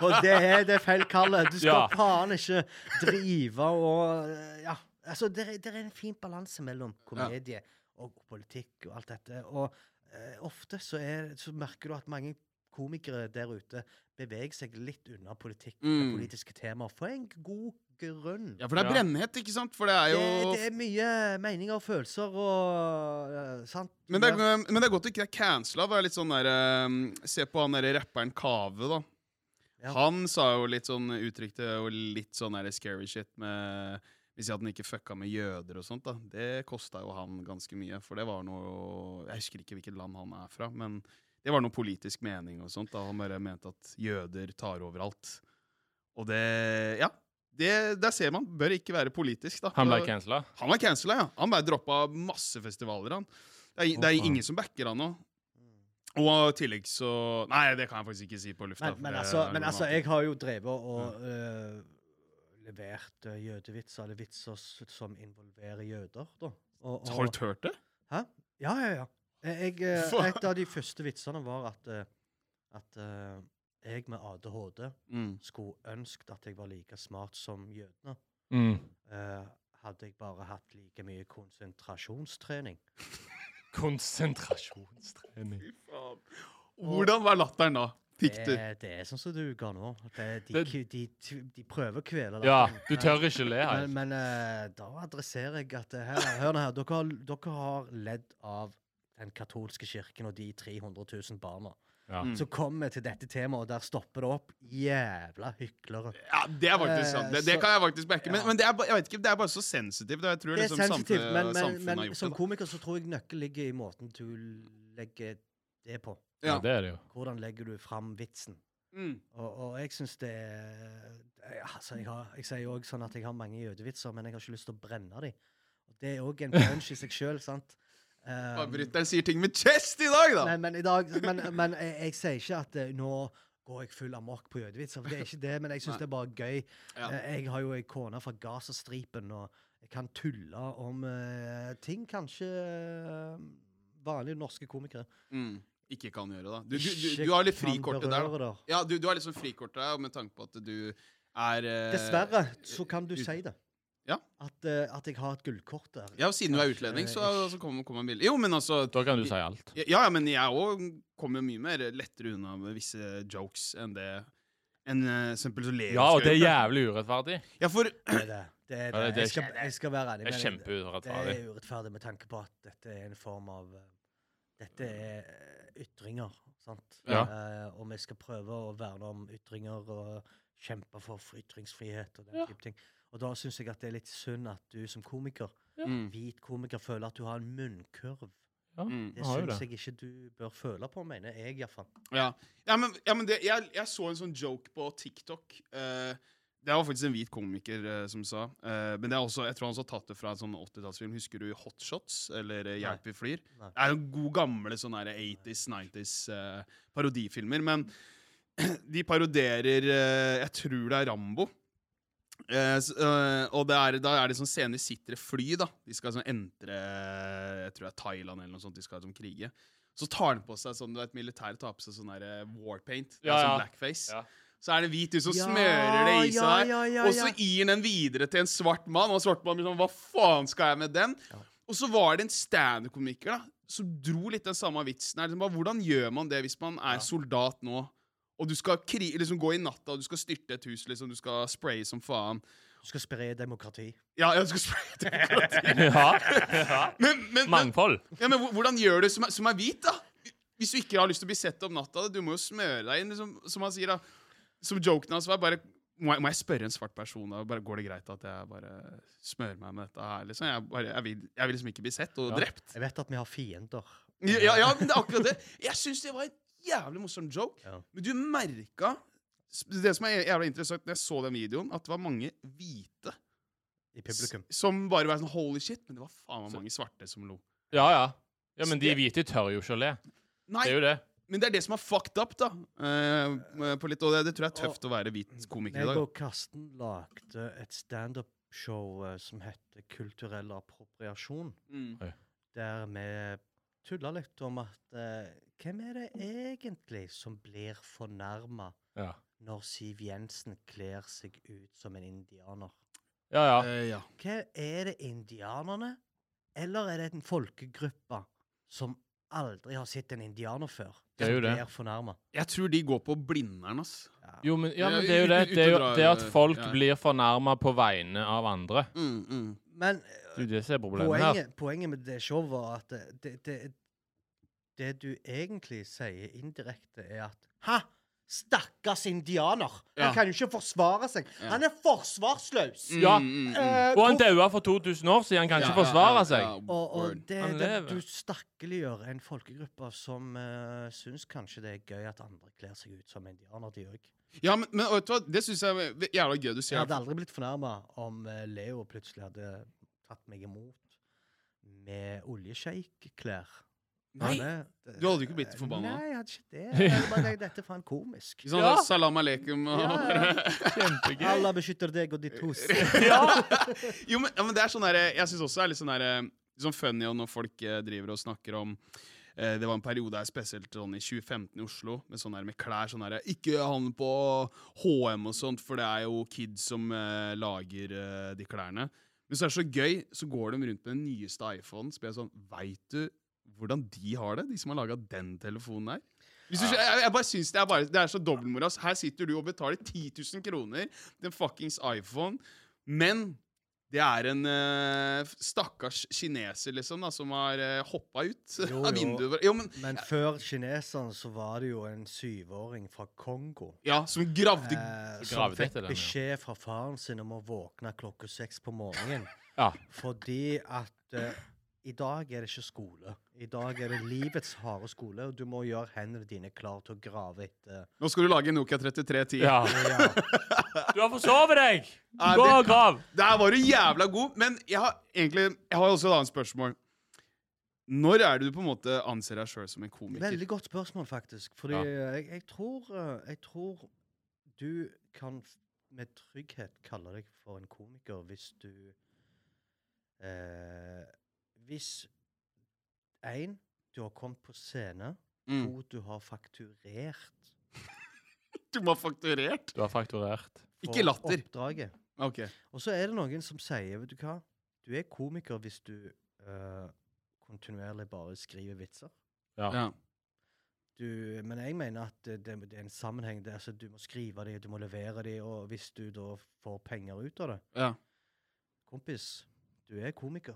Speaker 4: Og det er det feil kallet. Du
Speaker 3: Ja.
Speaker 4: skal faen ikke drive og eh, Ja. Altså, det, er- det er en fin balanse mellom komedie og politikk og alt dette. Og eh, ofte så, er, så merker du at mange komikere der ute beveger seg litt unna politikk
Speaker 2: Mm.
Speaker 4: og politiske temaer for en god grunn.
Speaker 2: Ja, for det er
Speaker 3: Ja.
Speaker 2: brennhett, ikke sant? For det er jo
Speaker 4: Det, det er mye meninger og følelser og eh, sant?
Speaker 2: Men det,
Speaker 4: Ja.
Speaker 2: er, men det er godt du ikke er cancela. for det er litt Sånn der, eh, se på han derre rapperen Kave, da.
Speaker 4: Ja.
Speaker 2: Han sa jo litt sånn uttrykte jo litt sånn der scary shit med Hvis han ikke fucka med jøder og sånt, da. Det kosta jo han ganske mye, for det var noe Jeg husker ikke hvilket land han er fra, men det var noe politisk mening og sånt. da Han bare mente at jøder tar over alt. Og det Ja. Det, der ser man. Bør ikke være politisk, da.
Speaker 3: Han ble
Speaker 2: Og-
Speaker 3: cancela.
Speaker 2: han var cancela, ja. Han bare droppa masse festivaler, han. Det er, det
Speaker 3: Å, faen.
Speaker 2: er ingen som backer han nå.
Speaker 4: Mm.
Speaker 2: Og i tillegg så Nei, det kan jeg faktisk ikke si på lufta.
Speaker 4: Men,
Speaker 2: for
Speaker 4: men,
Speaker 2: det
Speaker 4: altså,
Speaker 2: er
Speaker 4: men altså,
Speaker 2: problematisk.
Speaker 4: jeg har jo drevet og eh, levert eh, jødevitser, eller vitser s- som involverer jøder, da. Og, og,
Speaker 2: Har du hørt det?
Speaker 4: Ja, ja, ja. Jeg, eh,
Speaker 2: Faen.
Speaker 4: et av de første vitsene var at, eh, at eh, jeg med ADHD
Speaker 2: Mm.
Speaker 4: skulle ønsket at jeg var like smart som jødene.
Speaker 3: Mm.
Speaker 4: Eh, hadde jeg bare hatt like mye konsentrasjonstrening.
Speaker 3: Konsentrasjonstrening.
Speaker 2: Hvordan var latteren da?
Speaker 4: Det,
Speaker 2: Fikk du
Speaker 4: det er sånn som du ga nå. Det, de,
Speaker 3: Det-
Speaker 4: ku- de, de, de prøver å kvele
Speaker 3: Ja,
Speaker 4: latteren.
Speaker 3: du tør ikke le her.
Speaker 4: Men, men eh, da adresserer jeg at eh, her, Hør nå her. Dere har, dere har ledd av den katolske kirken og de 300 000 barna.
Speaker 3: Ja.
Speaker 2: Mm.
Speaker 4: Så kommer vi til dette temaet, og der stopper det opp. Jævla hyklere.
Speaker 2: Ja, det er faktisk
Speaker 4: Eh,
Speaker 2: sant. Det, det
Speaker 4: så-
Speaker 2: kan jeg faktisk backe. Men,
Speaker 4: Ja.
Speaker 2: men det, er, ba- jeg vet ikke, det er bare så sensitivt. og Jeg tror
Speaker 4: Det er
Speaker 2: liksom
Speaker 4: sensitivt,
Speaker 2: samfunnet,
Speaker 4: men, men,
Speaker 2: samfunnet har
Speaker 4: men
Speaker 2: gjort
Speaker 4: som
Speaker 2: det.
Speaker 4: komiker så tror jeg nøkkelen ligger i måten du legger det på.
Speaker 2: Ja.
Speaker 3: ja, det er det jo.
Speaker 4: Hvordan legger du fram vitsen?
Speaker 2: da. Mm.
Speaker 4: Og, og jeg syns det ja, altså jeg, har, jeg sier jo òg sånn at jeg har mange jødevitser, men jeg har ikke lyst til å brenne dem. Det er òg en punch i seg sjøl, sant?
Speaker 2: Bare
Speaker 4: Um,
Speaker 2: Brytteren sier ting med chest i dag, da!
Speaker 4: nei, men i dag Men, men jeg, jeg sier ikke at eh, nå går jeg full amok på jødevitser. for Det er ikke det, men jeg syns
Speaker 2: Nei.
Speaker 4: det er bare gøy.
Speaker 2: Ja.
Speaker 4: Eh, Jeg har jo ei kone fra Gazastripen, og jeg kan tulle om eh, ting kanskje eh, vanlige norske komikere
Speaker 2: Mm. Ikke kan gjøre, da. Du, du, du,
Speaker 4: ikke
Speaker 2: du har litt
Speaker 4: kan
Speaker 2: frikortet der. da.
Speaker 4: berøre, da.
Speaker 2: Ja, du, du har liksom frikortet der med tanke på at du er eh,
Speaker 4: Dessverre så kan du
Speaker 2: ut-
Speaker 4: si det.
Speaker 2: Ja.
Speaker 4: At, eh, at jeg har et gullkort der.
Speaker 2: Ja, og siden du er utlending, så,
Speaker 4: Kanskje,
Speaker 2: så kommer kommer en bilde. Jo, men altså
Speaker 3: Da kan du si alt.
Speaker 2: Ja, ja, men jeg òg kommer jo mye mer lettere unna med visse jokes enn det enn eh, eksempel så Leo
Speaker 3: Ja, og
Speaker 2: skal
Speaker 3: det er
Speaker 2: gjøre.
Speaker 3: jævlig urettferdig.
Speaker 2: Ja, for
Speaker 4: Det er det. det, er
Speaker 3: Ja, det- det
Speaker 4: det.
Speaker 3: er
Speaker 4: Jeg, skal, jeg skal være ærlig.
Speaker 3: Det er
Speaker 4: men det
Speaker 3: kjempeurettferdig.
Speaker 4: er urettferdig med tanke på at dette er en form av eh, Dette er eh, ytringer, sant?
Speaker 2: Ja.
Speaker 4: Eh, og vi skal prøve å verne om ytringer og kjempe for fri- ytringsfrihet og den
Speaker 3: Ja.
Speaker 4: type ting. Og da syns jeg at det er litt synd at du som komiker,
Speaker 2: mm,
Speaker 4: hvit komiker, føler at du har en munnkurv.
Speaker 2: mm.
Speaker 3: Han
Speaker 4: Det
Speaker 3: har jo
Speaker 4: syns
Speaker 3: det.
Speaker 4: jeg ikke du bør føle på, mener jeg iallfall.
Speaker 2: Ja, ja men, ja, men det, jeg, jeg så en sånn joke på TikTok. eh, det var faktisk en hvit komiker eh, som sa. eh, men det er også, jeg tror han også har tatt det fra en sånn 80-tallsfilm. Husker du Hot Shots? Eller eh, Hjelp, vi flyr?
Speaker 4: Nei.
Speaker 2: Det er jo gode gamle sånne her 80s, 90s eh, parodifilmer. Men de paroderer eh, Jeg tror det er Rambo. Eh, s- eh, og det er, da er det sånn scene de sitter i fly, da. De skal sånn entre Jeg tror det er Thailand eller noe sånt. De skal sånn krige. Så tar han på seg sånn, du vet, militæret tar på seg sånn der eh, warpaint. Det er
Speaker 3: Ja,
Speaker 2: sånn
Speaker 3: ja.
Speaker 2: blackface.
Speaker 3: Ja.
Speaker 2: Så er det hvit du som smører det i seg der.
Speaker 4: Ja, ja,
Speaker 2: Og så gir han den videre til en svart mann, og svart mann blir sånn Hva faen skal jeg med den?
Speaker 4: Ja.
Speaker 2: Og så var det en standup-komiker da, som dro litt den samme vitsen. her. Liksom bare, hvordan gjør man det hvis man er soldat nå, og du skal kri liksom gå i natta, og du skal styrte et hus, liksom, du skal spraye som faen?
Speaker 4: Du skal spre demokrati.
Speaker 2: Ja, jeg skal spraye demokrati.
Speaker 3: Ja.
Speaker 2: Men, men, men,
Speaker 3: Mangfold.
Speaker 2: ja, men hvor- hvordan gjør du som er, som er hvit, da? Hvis du ikke har lyst til å bli sett om natta, du må jo smøre deg inn, liksom, som han sier, da. Som joken hans var, bare må jeg, må jeg spørre en svart person da? Bare, går det greit at jeg bare smører meg med dette her? Liksom? Jeg, bare, jeg, vil, jeg vil liksom ikke bli sett og
Speaker 3: Ja.
Speaker 2: drept.
Speaker 4: Jeg vet at vi har fiender.
Speaker 2: Ja, ja, men det er akkurat det. Jeg syns det var en jævlig morsom joke.
Speaker 4: Ja.
Speaker 2: Men du merka det som er jævlig interessant når jeg så den videoen, at det var mange hvite
Speaker 4: I publikum.
Speaker 2: s- som bare var sånn holy shit, men det var faen meg
Speaker 3: Så-
Speaker 2: mange svarte som lo.
Speaker 3: Ja, ja. Ja, Men de hvite tør jo ikke å le.
Speaker 2: Nei,
Speaker 3: Det er jo det.
Speaker 2: men det er det som er fucked up, da. eh, på litt, og det, det tror jeg er tøft å være hvit komiker i
Speaker 4: Jeg
Speaker 2: dag.
Speaker 4: og Karsten lagde et standup-show eh, som heter Kulturell appropriasjon.
Speaker 2: Mm.
Speaker 4: der vi tulla litt om at eh, hvem er det egentlig som blir fornærma
Speaker 3: Ja,
Speaker 4: når Siv Jensen kler seg ut som en indianer?
Speaker 3: ja. ja.
Speaker 2: Eh, ja.
Speaker 4: Hva Er det indianerne, eller er det en folkegruppe som aldri har sett en indianer før,
Speaker 3: Det er jo
Speaker 4: som
Speaker 3: det.
Speaker 4: blir fornærma?
Speaker 2: Jeg tror de går på Blindern, ass.
Speaker 3: Jo, men, ja,
Speaker 2: Ja,
Speaker 3: men det er jo det.
Speaker 2: ut- ut-
Speaker 3: Det er jo
Speaker 2: utdra-
Speaker 3: det at folk
Speaker 2: ja.
Speaker 3: blir fornærma på vegne av andre.
Speaker 2: Mm, mm.
Speaker 4: Men eh,
Speaker 3: Det er jo det som er problemet her.
Speaker 4: Poenget, poenget med det showet var at det, det, det, det du egentlig sier indirekte, er at Ha! Stakkars indianer! Han
Speaker 2: Ja.
Speaker 4: kan jo ikke forsvare seg!
Speaker 2: Ja.
Speaker 4: Han er forsvarsløs!
Speaker 3: Ja.
Speaker 2: Mm, mm, mm.
Speaker 4: Eh,
Speaker 3: Og han
Speaker 4: hvor-
Speaker 3: daua for 2000 år siden, han kan
Speaker 2: Ja,
Speaker 3: ikke
Speaker 2: ja,
Speaker 3: forsvare
Speaker 2: ja,
Speaker 3: seg.
Speaker 2: ja,
Speaker 4: og, og
Speaker 2: word.
Speaker 4: det,
Speaker 3: Han
Speaker 4: det,
Speaker 3: lever.
Speaker 4: du stakkeliggjør en folkegruppe som uh, syns kanskje det er gøy at andre kler seg ut som indianer, de òg.
Speaker 2: Ja, men, men vet du hva, det syns jeg er jævla gøy du
Speaker 4: Jeg
Speaker 2: sier.
Speaker 4: hadde aldri blitt fornærma om eh, Leo plutselig hadde tatt meg imot med oljesjeikklær.
Speaker 2: Nei,
Speaker 4: Ja, det- det-
Speaker 2: Du hadde jo ikke blitt så forbanna.
Speaker 4: Nei, jeg hadde ikke det. Jeg hadde bare, tenkt, dette er faen komisk.
Speaker 2: Sånn
Speaker 3: Ja.
Speaker 2: salam aleikum og
Speaker 4: Ja,
Speaker 3: Kjempegøy.
Speaker 4: Allah beskytter deg og ditt hus.
Speaker 2: Jo, men, Eh, ja, men det er sånn der, Jeg syns også det er litt sånn der, eh, sånn funny og når folk eh, driver og snakker om eh, det var en periode her, spesielt sånn i 2015 i Oslo, med, sånn der, med klær sånn der, Ikke handle på HM og sånt, for det er jo kids som eh, lager eh, de klærne. Men så er det så gøy, så går de rundt med den nyeste iPhonen, så blir jeg sånn Veit du hvordan de har det, de som har laga den telefonen her? Hvis du, skjø- jeg, jeg bare synes det er, bare, det er så dobbeltmoras. Her sitter du og betaler 10 000 kroner til en fuckings iPhone, men det er en eh, stakkars kineser, liksom, da, som har uh, hoppa ut
Speaker 4: Jo,
Speaker 2: av
Speaker 4: jo.
Speaker 2: vinduet. Jo, men,
Speaker 4: Men før kineserne så var det jo en syvåring fra Kongo.
Speaker 2: ja, som gravde
Speaker 4: Eh, som
Speaker 3: Gravde
Speaker 4: fikk
Speaker 3: etter den, ja.
Speaker 4: beskjed fra faren sin om å våkne klokka seks på morgenen.
Speaker 3: Ja.
Speaker 4: Fordi at eh, i dag er det ikke skole. I dag er det livets harde skole, og du må gjøre hendene dine klar til å grave etter
Speaker 2: Nå skal du lage en Nokia 3310.
Speaker 3: ja.
Speaker 4: ja.
Speaker 3: Du har forsovet deg!
Speaker 2: Ja,
Speaker 3: Gå
Speaker 2: det-
Speaker 3: og grav!
Speaker 2: Der var du jævla god, men jeg har egentlig Jeg har også et annet spørsmål. Når er det du på en måte anser deg sjøl som en komiker?
Speaker 4: Veldig godt spørsmål, faktisk. Fordi
Speaker 3: Ja.
Speaker 4: eh, jeg, jeg, tror, eh, jeg tror du kan f- med trygghet kalle deg for en komiker hvis du eh, Hvis én, du har kommet på scene.
Speaker 2: Mm.
Speaker 4: To, du har fakturert
Speaker 2: Du må ha fakturert.
Speaker 3: Du har fakturert.
Speaker 4: for
Speaker 2: Ikke latter.
Speaker 4: oppdraget.
Speaker 2: Ok.
Speaker 4: Og så er det noen som sier, vet du hva Du er komiker hvis du eh, kontinuerlig bare skriver vitser.
Speaker 3: Ja.
Speaker 2: Ja.
Speaker 4: du, men jeg mener at det, det, det er en sammenheng der. Så du må skrive de, du må levere de, og hvis du da får penger ut av det
Speaker 2: ja.
Speaker 4: Kompis, du er komiker.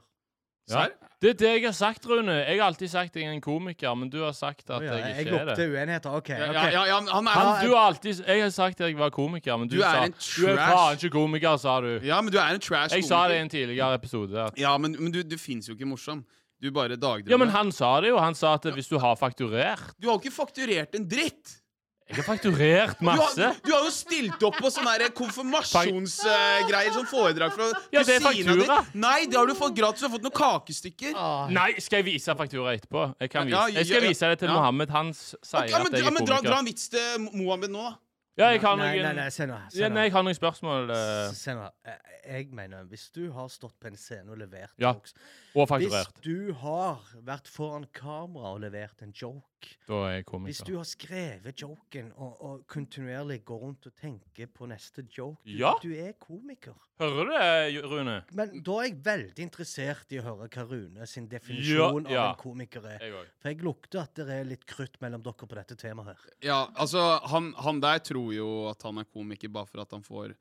Speaker 3: Ja.
Speaker 2: Serr?
Speaker 3: Det er det jeg har sagt, Rune. Jeg har alltid sagt jeg er en komiker, men du har sagt at
Speaker 4: Å ja,
Speaker 3: jeg
Speaker 4: jeg
Speaker 3: ikke er
Speaker 4: lovte
Speaker 3: det.
Speaker 4: uenigheter. OK.
Speaker 2: Ja,
Speaker 4: ok.
Speaker 2: ja, ja, ja, men han er,
Speaker 4: Han-
Speaker 3: Men du har alltid, jeg har sagt at jeg var komiker, men du,
Speaker 2: Du er
Speaker 3: sa
Speaker 2: en
Speaker 3: Du er
Speaker 2: trash-
Speaker 3: faen ikke komiker, sa du.
Speaker 2: ja, men du er en trash
Speaker 3: Jeg sa
Speaker 2: komiker.
Speaker 3: det i en tidligere episode. At,
Speaker 2: Ja, men, men du, du fins jo ikke morsom. Du bare dagdrømmer.
Speaker 3: ja, men han sa det jo. Han sa at hvis du har fakturert
Speaker 2: Du har jo ikke fakturert en dritt!
Speaker 3: Jeg har fakturert
Speaker 2: Du har,
Speaker 3: masse.
Speaker 2: du har jo stilt opp på sånne her konfirmasjonsgreier, sånn foredrag fra
Speaker 3: Ja, det er
Speaker 2: kusina di.
Speaker 3: faktura.
Speaker 2: Nei, det har du fått gratis. Du har fått noen kakestykker.
Speaker 4: Ah,
Speaker 3: Nei, skal jeg vise faktura etterpå? Jeg, kan
Speaker 2: Ja,
Speaker 3: vise.
Speaker 2: ja,
Speaker 3: jeg skal
Speaker 2: ja,
Speaker 3: vise det til
Speaker 2: ja.
Speaker 3: Mohammed. Han s- sier
Speaker 2: Ok, ja, men,
Speaker 3: at jeg
Speaker 2: ja,
Speaker 3: er
Speaker 2: men dra, dra
Speaker 3: komiker.
Speaker 2: en vits til Mo- Mohammed nå, da.
Speaker 3: Ja, jeg har
Speaker 4: nei, nei, nei,
Speaker 3: noen
Speaker 4: se nå. Se
Speaker 3: ja,
Speaker 4: nå.
Speaker 3: Nei, jeg har noen spørsmål. eh,
Speaker 4: S- se nå. Eh, Jeg mener, hvis du har stått på en scene og levert
Speaker 3: Ja,
Speaker 4: jokes
Speaker 3: Og
Speaker 4: Hvis
Speaker 3: fakturert.
Speaker 4: du har vært foran kamera og levert en joke
Speaker 3: Da er jeg
Speaker 4: Hvis
Speaker 3: komiker.
Speaker 4: du har skrevet joken og, og kontinuerlig går rundt og tenker på neste joke Du,
Speaker 3: Ja.
Speaker 4: du er komiker.
Speaker 3: Hører du det, Rune?
Speaker 4: Men da er jeg veldig interessert i å høre hva Rune sin definisjon
Speaker 3: ja.
Speaker 4: av en komiker er.
Speaker 3: Jeg òg.
Speaker 4: For jeg lukter at det er litt krutt mellom dere på dette temaet her.
Speaker 2: Ja, altså, han, han der tror jo at han er komiker bare for at han får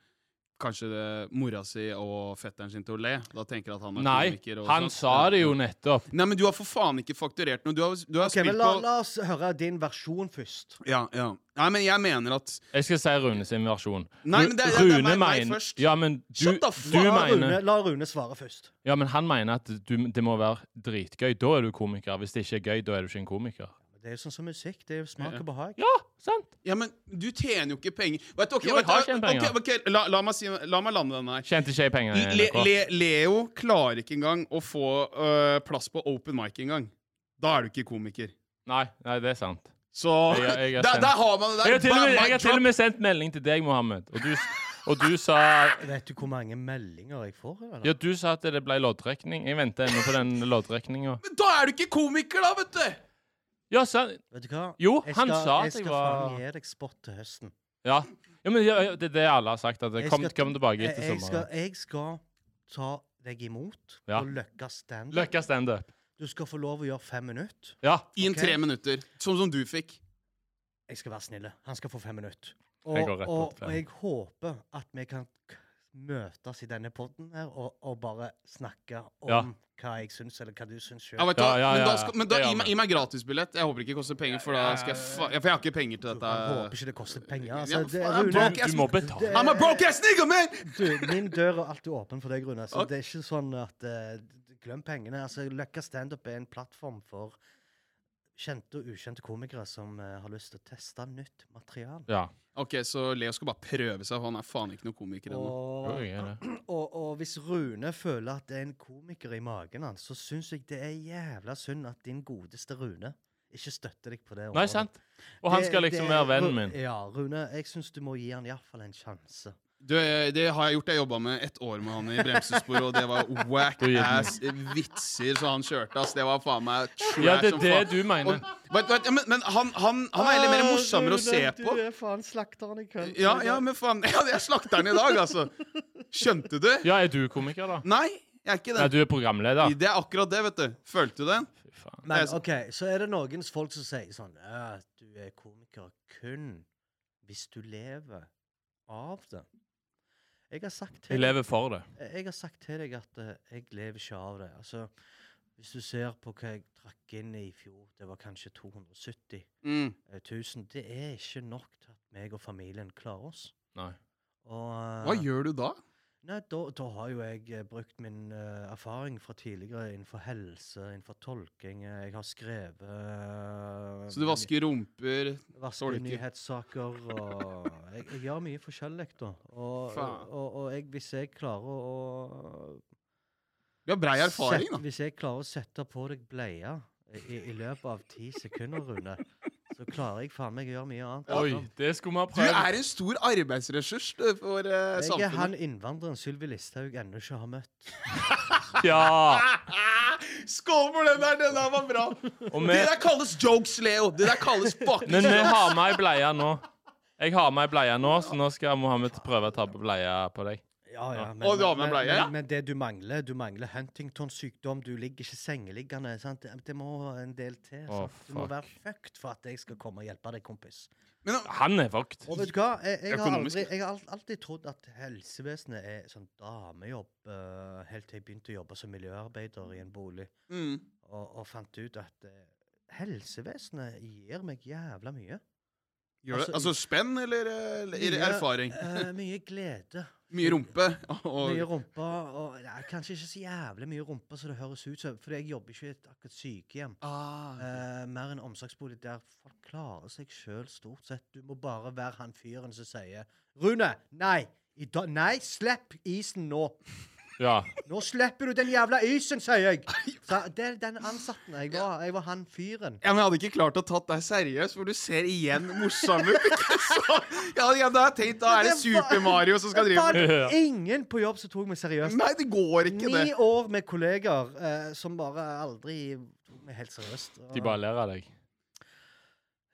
Speaker 2: kanskje det, mora si og fetteren sin til å le. Da tenker jeg at han er
Speaker 3: Nei,
Speaker 2: komiker. og
Speaker 3: han
Speaker 2: sånt.
Speaker 3: sa det jo nettopp.
Speaker 2: Nei, men du har for faen ikke fakturert noe. Du har, du har
Speaker 4: Ok, men
Speaker 2: spilt
Speaker 4: la,
Speaker 2: på
Speaker 4: la oss høre din versjon først.
Speaker 2: Ja, ja. Nei, men jeg mener at
Speaker 3: Jeg skal si Rune sin versjon.
Speaker 2: Nei, men det er- det er
Speaker 3: Rune
Speaker 2: meg- meg
Speaker 3: mener-
Speaker 2: først.
Speaker 3: Ja, men du,
Speaker 2: Shut the
Speaker 3: du
Speaker 2: fuck
Speaker 4: La Rune,
Speaker 3: mener
Speaker 4: la Rune svare først.
Speaker 3: Ja, men han mener at du, det må være dritgøy. Da er du komiker. Hvis det ikke er gøy, da er du ikke en komiker.
Speaker 4: Det er jo sånn som musikk. Det er jo smak og behag.
Speaker 3: Ja, sant?
Speaker 2: Ja, men du tjener jo ikke penger. Vet du, ok,
Speaker 3: Jo, jeg
Speaker 2: vet du,
Speaker 3: har tjent penger.
Speaker 2: ok, ok, la, la, meg si, la meg lande den her.
Speaker 3: Tjente ikke jeg penger i
Speaker 2: Le,
Speaker 3: NRK.
Speaker 2: le, Leo klarer ikke engang å få øh, plass på open mic engang. Da er du ikke komiker.
Speaker 3: Nei, nei, det er sant.
Speaker 2: Så
Speaker 3: Jeg- jeg har
Speaker 2: der,
Speaker 3: sendt-
Speaker 2: der har man det der.
Speaker 3: Jeg har til og
Speaker 2: Bam,
Speaker 3: med,
Speaker 2: mic
Speaker 3: jeg har til
Speaker 2: drop.
Speaker 3: og med sendt melding til deg, Mohammed, og du, s- og du sa
Speaker 4: Vet du hvor mange meldinger jeg får? Eller?
Speaker 3: Ja, du sa at det ble loddtrekning. Jeg venter ennå på den loddtrekninga.
Speaker 2: Men Da er du ikke komiker, da, vet du!
Speaker 3: Ja, sant.
Speaker 4: Vet du hva?
Speaker 3: Jo,
Speaker 4: jeg
Speaker 3: han
Speaker 4: skal,
Speaker 3: sa at
Speaker 4: jeg
Speaker 3: jeg
Speaker 4: skal
Speaker 3: var-
Speaker 4: faen gi deg spot til høsten.
Speaker 3: Ja. ja men ja, ja, det er det alle har sagt. At det
Speaker 4: Jeg
Speaker 3: kom,
Speaker 4: skal-
Speaker 3: kom tilbake
Speaker 4: Jeg,
Speaker 3: etter
Speaker 4: jeg, skal,
Speaker 3: sommeren.
Speaker 4: jeg skal ta deg imot
Speaker 3: Ja.
Speaker 4: på Løkka standup.
Speaker 3: Løkka standup.
Speaker 4: Du skal få lov å gjøre fem minutter.
Speaker 3: Ja.
Speaker 2: I en
Speaker 4: Ok.
Speaker 2: tre minutter. Sånn som du fikk.
Speaker 4: Jeg skal være snill. Han skal få fem minutter.
Speaker 3: Jeg
Speaker 4: Og,
Speaker 3: går rett mot
Speaker 4: og,
Speaker 3: fem.
Speaker 4: og jeg håper at vi kan k- møtes i denne podden her og, og bare snakke om
Speaker 3: Ja.
Speaker 4: hva jeg syns, eller hva du syns
Speaker 2: Ja,
Speaker 4: sjøl.
Speaker 2: vet du,
Speaker 3: Ja, ja,
Speaker 2: Men da,
Speaker 3: ja,
Speaker 2: skal, men
Speaker 3: det
Speaker 2: da
Speaker 3: gjør
Speaker 2: gi meg,
Speaker 3: vi.
Speaker 2: gi meg gratisbillett. Jeg håper ikke det koster penger, for da skal jeg fa... ja, For jeg har ikke penger til
Speaker 4: Håper
Speaker 2: dette.
Speaker 4: ikke det koster penger.
Speaker 2: Ja,
Speaker 4: Altså, det,
Speaker 2: faen,
Speaker 4: Rune,
Speaker 2: bro.
Speaker 3: Du må betale.
Speaker 2: I'm a broke ass nigger, man!
Speaker 4: Du, min dør er alltid åpen for deg, Rune. Så
Speaker 2: Ok.
Speaker 4: det er ikke sånn at eh, Glem pengene. Altså, Løkka standup er en plattform for kjente og ukjente komikere som eh, har lyst til å teste nytt materiale.
Speaker 3: Ja.
Speaker 2: Ok, så Leo skal bare prøve seg, for han er faen ikke noen komiker ennå.
Speaker 3: Jo,
Speaker 4: Og,
Speaker 3: jeg er det.
Speaker 4: og, og hvis Rune føler at det er en komiker i magen hans, så syns jeg det er jævla synd at din godeste Rune ikke støtter deg på det.
Speaker 3: Nei,
Speaker 4: området.
Speaker 3: sant? Og han
Speaker 4: Det-
Speaker 3: skal liksom
Speaker 4: det-
Speaker 3: være vennen min.
Speaker 4: Ja, Rune, jeg syns du må gi han iallfall en sjanse.
Speaker 2: Du, eh, det har jeg gjort. Jeg jobba med ett år med han i bremsesporet, og det var whack
Speaker 3: Du gir den.
Speaker 2: ass vitser som han kjørte, ass. Det var faen meg trash
Speaker 3: Ja, det
Speaker 2: som
Speaker 3: er det
Speaker 2: faen.
Speaker 3: du
Speaker 2: Og,
Speaker 3: mener.
Speaker 2: vet, vet, ja, men men han, han, han er heller mer
Speaker 3: Ah,
Speaker 2: morsommere å se på.
Speaker 4: Du er faen slakteren i køen.
Speaker 2: Ja, ja, men faen. Ja, jeg slakter han i dag, altså. Skjønte du?
Speaker 3: Ja, er du komiker, da?
Speaker 2: Nei, jeg er ikke
Speaker 3: Nei,
Speaker 2: det.
Speaker 3: du er programleder.
Speaker 2: Det er akkurat det, vet du. Følte du den?
Speaker 3: Fy faen.
Speaker 2: Jeg
Speaker 4: Men
Speaker 2: s-
Speaker 4: OK, så er det noen folk som sier sånn Ja, du er komiker kun hvis du lever av det. Jeg har sagt
Speaker 3: Jeg
Speaker 4: til deg,
Speaker 3: lever for det.
Speaker 4: jeg har sagt til deg at eh, jeg lever ikke av det. Altså, hvis du ser på hva jeg trakk inn i fjor, det var kanskje 270
Speaker 2: Mm.
Speaker 4: eh, 000. Det er ikke nok til at meg og familien klarer oss.
Speaker 3: Nei.
Speaker 4: Og,
Speaker 2: Hva
Speaker 4: eh,
Speaker 2: gjør du da?
Speaker 4: Nei, da, da har jo jeg eh, brukt min eh, erfaring fra tidligere innenfor helse, innenfor tolking. eh, jeg har skrevet eh,
Speaker 2: Så du vasker rumper tolker.
Speaker 4: vasker nyhetssaker og jeg, jeg gjør mye forskjellig, da. Og,
Speaker 2: Faen.
Speaker 4: og, og jeg, hvis jeg klarer å
Speaker 2: Du har brei erfaring,
Speaker 4: sette-
Speaker 2: da.
Speaker 4: Hvis jeg klarer å sette på deg bleia i, i løpet av ti sekunder, Rune, så klarer jeg faen meg å gjøre mye annet.
Speaker 3: Oi, det skulle vi ha
Speaker 2: Du
Speaker 3: prøvd.
Speaker 2: er en stor arbeidsressurs du, for eh,
Speaker 4: Jeg er han
Speaker 2: samfunnet.
Speaker 4: innvandreren Sylvi Listhaug ennå ikke har møtt.
Speaker 3: Ja.
Speaker 2: Skål for den der! Den der var bra.
Speaker 3: Og
Speaker 2: Det
Speaker 3: vi,
Speaker 2: der kalles jokes, Leo. Det der kalles fucking
Speaker 3: men vi har med ei bleie nå. Jeg har med ei bleie nå, så nå skal Mohammed prøve å ta på bleia på deg.
Speaker 4: Ja, ja.
Speaker 3: Ja.
Speaker 4: Men,
Speaker 2: Og du har med
Speaker 4: men,
Speaker 2: bleie,
Speaker 4: men,
Speaker 2: ja.
Speaker 4: men det du mangler, du mangler Huntington-sykdom. Du ligger ikke sengeliggende. Sant? Det, det må en del til.
Speaker 3: Å,
Speaker 4: sant? du må
Speaker 3: fuck.
Speaker 4: være fucked for at jeg skal komme og hjelpe deg, kompis.
Speaker 2: Men,
Speaker 3: Han er fucked.
Speaker 4: Og vet du hva? Jeg, jeg, har,
Speaker 2: Økonomisk.
Speaker 4: aldri, jeg har alt- alltid trodd at helsevesenet er sånn damejobb, eh, helt til jeg begynte å jobbe som miljøarbeider i en bolig,
Speaker 2: mm.
Speaker 4: og, og fant ut at eh, helsevesenet gir meg jævla mye.
Speaker 2: Gjør det?
Speaker 4: Altså,
Speaker 2: Altså spenn eller, eh, eller
Speaker 4: Mye,
Speaker 2: erfaring?
Speaker 4: eh, mye glede.
Speaker 2: Mye rumpe. Og,
Speaker 4: Mye rumpe, og det er kanskje ikke så jævlig mye rumpe som det høres ut som, for jeg jobber ikke i et akkurat sykehjem.
Speaker 2: ah,
Speaker 4: Eh, mer en omsorgsbolig der folk klarer seg sjøl, stort sett. Du må bare være han fyren som sier 'Rune, nei! I dag- nei, slipp isen nå!
Speaker 3: Ja.
Speaker 4: Nå slipper du den jævla isen, sier jeg! Så det er den ansatte jeg var. Jeg var han fyren.
Speaker 2: Ja, men Jeg hadde ikke klart å tatt deg seriøst, for du ser igjen morsom ut. Så, ja, ja, da har jeg tenkt, da er det Super-Mario som skal
Speaker 4: Det
Speaker 2: drive
Speaker 4: var
Speaker 2: med
Speaker 3: Ja.
Speaker 4: ingen på jobb som tok meg seriøst.
Speaker 2: Nei, det går ikke, det.
Speaker 4: Ni år med kolleger eh, som bare aldri tok meg helt seriøst. Og-
Speaker 3: De bare ler av deg.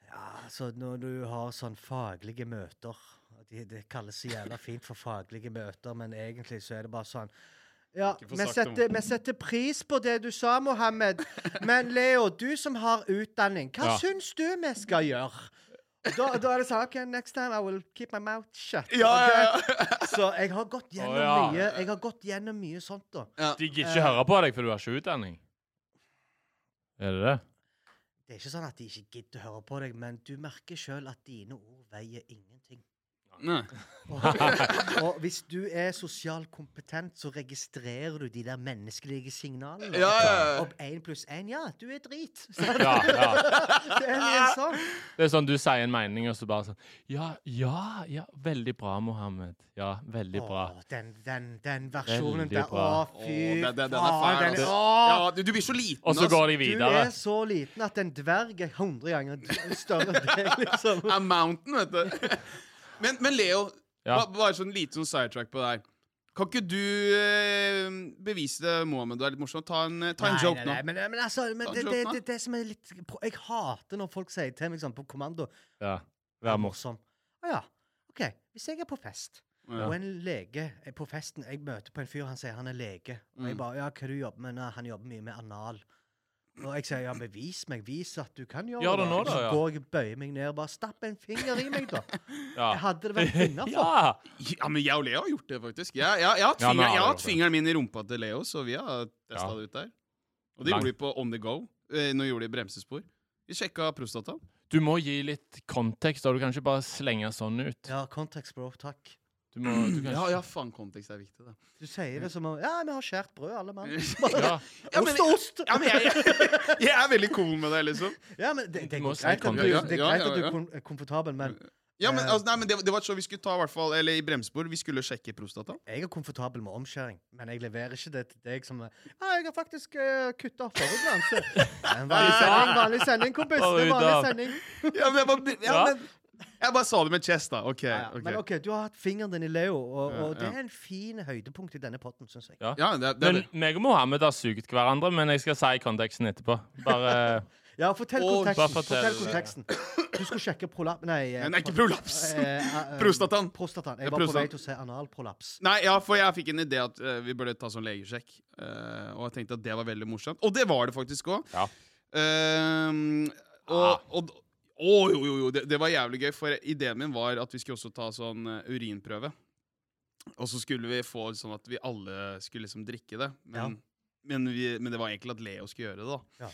Speaker 4: Ja, altså når du har sånn faglige møter Det, det kalles så jævla fint for faglige møter, men egentlig så er det bare sånn ja,
Speaker 2: Ikke få
Speaker 4: vi
Speaker 2: sagt det,
Speaker 4: setter, vi setter pris på det du sa, Mohammed. Men Leo, du som har utdanning, hva
Speaker 3: Ja.
Speaker 4: syns du vi skal gjøre? Da, da er det sånn OK, next time I will keep my mouth shut.
Speaker 2: Ja, ja,
Speaker 4: ok?
Speaker 2: ja.
Speaker 4: Så jeg har gått gjennom
Speaker 3: ja.
Speaker 4: mye Jeg har gått gjennom mye sånt, da.
Speaker 3: De gidder ikke høre på deg, for du har ikke utdanning. Er det det?
Speaker 4: Det er ikke sånn at de ikke gidder å høre på deg, men du merker sjøl at dine ord veier ingenting.
Speaker 2: Nei.
Speaker 4: Og, og hvis du er sosialt kompetent, så registrerer du de der menneskelige signalene.
Speaker 2: Ja, ja, ja.
Speaker 4: Opp én pluss én, ja, du er drit.
Speaker 3: Ja, ja.
Speaker 4: Det er litt sånn.
Speaker 3: Det er sånn du sier en mening, og så bare sånn Ja, ja, ja. Veldig bra, Mohammed. Ja, veldig bra.
Speaker 4: Åh, den, den, den versjonen
Speaker 3: Veldig
Speaker 4: der. Å,
Speaker 3: bra.
Speaker 4: fy
Speaker 2: Åh, den, den, den er
Speaker 4: faen,
Speaker 2: fæl,
Speaker 4: den-
Speaker 2: altså.
Speaker 4: Åh,
Speaker 2: Ja, du, du blir så liten,
Speaker 3: Og så
Speaker 2: ass.
Speaker 3: går de
Speaker 4: Du
Speaker 3: videre.
Speaker 4: er så liten at en dverg er 100 ganger d- større enn deg, liksom.
Speaker 2: A mountain, vet du. Men, men Leo,
Speaker 3: Ja.
Speaker 2: ba, bare sånn liten sånn sidetrack på deg. Kan ikke du eh, bevise det, Mohammed? Du er litt morsom. Ta en, eh, ta en
Speaker 4: Nei,
Speaker 2: joke
Speaker 4: nei,
Speaker 2: nå.
Speaker 4: nei, Men, men altså, men
Speaker 2: Ta en
Speaker 4: det,
Speaker 2: joke
Speaker 4: det,
Speaker 2: nå.
Speaker 4: det, det som er litt pro- Jeg hater når folk sier til meg sånn på kommando
Speaker 3: Ja.
Speaker 4: «Du er
Speaker 3: Vær morsom.
Speaker 4: morsom. Å ja. OK. Hvis jeg er på fest,
Speaker 2: Ja.
Speaker 4: og en lege er på festen Jeg møter på en fyr, han sier han er lege. Og
Speaker 2: Mm.
Speaker 4: jeg bare Ja, hva du jobber med? Nei, han jobber mye med anal. Og jeg sier ja, men vis meg. Vis at du kan gjøre
Speaker 3: Gjør det nå, da,
Speaker 4: Så
Speaker 3: ja.
Speaker 4: går jeg og bøyer meg ned og bare Stapp en finger i meg, da.
Speaker 3: Ja.
Speaker 4: Jeg hadde det vært innafor.
Speaker 3: Ja.
Speaker 2: ja, men jeg og Leo har gjort det, faktisk. Jeg, jeg, jeg har hatt
Speaker 3: Ja, nå
Speaker 2: fingeren,
Speaker 3: har
Speaker 2: jeg har
Speaker 3: du gjort
Speaker 2: hatt
Speaker 3: det.
Speaker 2: fingeren min i rumpa til Leo, så vi har testa
Speaker 3: Ja.
Speaker 2: det ut der. Og det
Speaker 3: Lang.
Speaker 2: gjorde vi på On The Go. eh, Når vi gjorde det i bremsespor. Vi sjekka prostataen.
Speaker 3: Du må gi litt kontekst, og du kan ikke bare slenge sånn ut.
Speaker 4: Ja, context, bro. Takk.
Speaker 3: Du må, du kan
Speaker 2: Ja,
Speaker 3: ikke-
Speaker 2: ja, faen, kontekst er viktig, da.
Speaker 4: Du sier det som om Ja, vi har skjært brød, alle mann.
Speaker 3: ja.
Speaker 2: Ja, men,
Speaker 4: Ost og ost!
Speaker 2: ja, men jeg, jeg er veldig cool med det, liksom.
Speaker 4: Ja, men det, det
Speaker 3: Du
Speaker 4: er
Speaker 3: må
Speaker 4: greit
Speaker 3: si
Speaker 4: at du,
Speaker 3: kontekst.
Speaker 4: det er
Speaker 2: Ja,
Speaker 4: greit
Speaker 2: ja,
Speaker 4: at du
Speaker 2: ja.
Speaker 4: er kon- er komfortabel, men
Speaker 2: Ja, men,
Speaker 4: Eh.
Speaker 2: altså, nei, men det, det var et show vi skulle ta, i hvert fall. Eller i bremsespor. Vi skulle sjekke prostataen.
Speaker 4: jeg er komfortabel med omskjæring. Men jeg leverer ikke det til deg som eh, Ja, jeg har faktisk uh, kutta forhudglanse. En vanlig sending, vanlig sending, kompis. Det
Speaker 3: Forhud,
Speaker 4: er
Speaker 3: da.
Speaker 4: vanlig sending.
Speaker 2: Ja, men jeg bare, ja,
Speaker 3: Ja.
Speaker 2: men, jeg bare sa det med chest, da. OK.
Speaker 4: Ja, ja.
Speaker 2: ok.
Speaker 4: Men OK, du har hatt fingeren din i Leo, og,
Speaker 2: Ja,
Speaker 4: og det
Speaker 2: ja.
Speaker 4: er en fin høydepunkt i denne potten, syns jeg.
Speaker 3: Ja.
Speaker 2: Ja, det, det, er
Speaker 3: Men
Speaker 2: det.
Speaker 3: meg og Mohammed har suget hverandre, men jeg skal si konteksten etterpå. Bare
Speaker 4: Ja, fortell
Speaker 2: Åh,
Speaker 4: konteksten.
Speaker 3: bare
Speaker 4: Fortell
Speaker 3: fortell.
Speaker 4: konteksten. Du skulle sjekke prolap... Nei. eh,
Speaker 2: Men det er ikke
Speaker 4: pro-
Speaker 2: prolaps.
Speaker 4: eh, eh,
Speaker 2: Prostatan.
Speaker 4: Prostatan.
Speaker 2: Ja,
Speaker 4: Jeg var på
Speaker 2: prostatan.
Speaker 4: vei til å si analprolaps.
Speaker 2: Nei, ja, for jeg fikk en idé at eh, vi burde ta sånn legesjekk. eh, og jeg tenkte at det var veldig morsomt. Og det var det faktisk òg.
Speaker 3: Ja. Ah.
Speaker 2: og, og å, jo, jo, jo. Det, det var jævlig gøy, for ideen min var at vi skulle også ta sånn eh, urinprøve. Og så skulle vi få sånn at vi alle skulle liksom drikke det. Men,
Speaker 4: Ja.
Speaker 2: men, vi, men det var egentlig at Leo skulle gjøre det, da.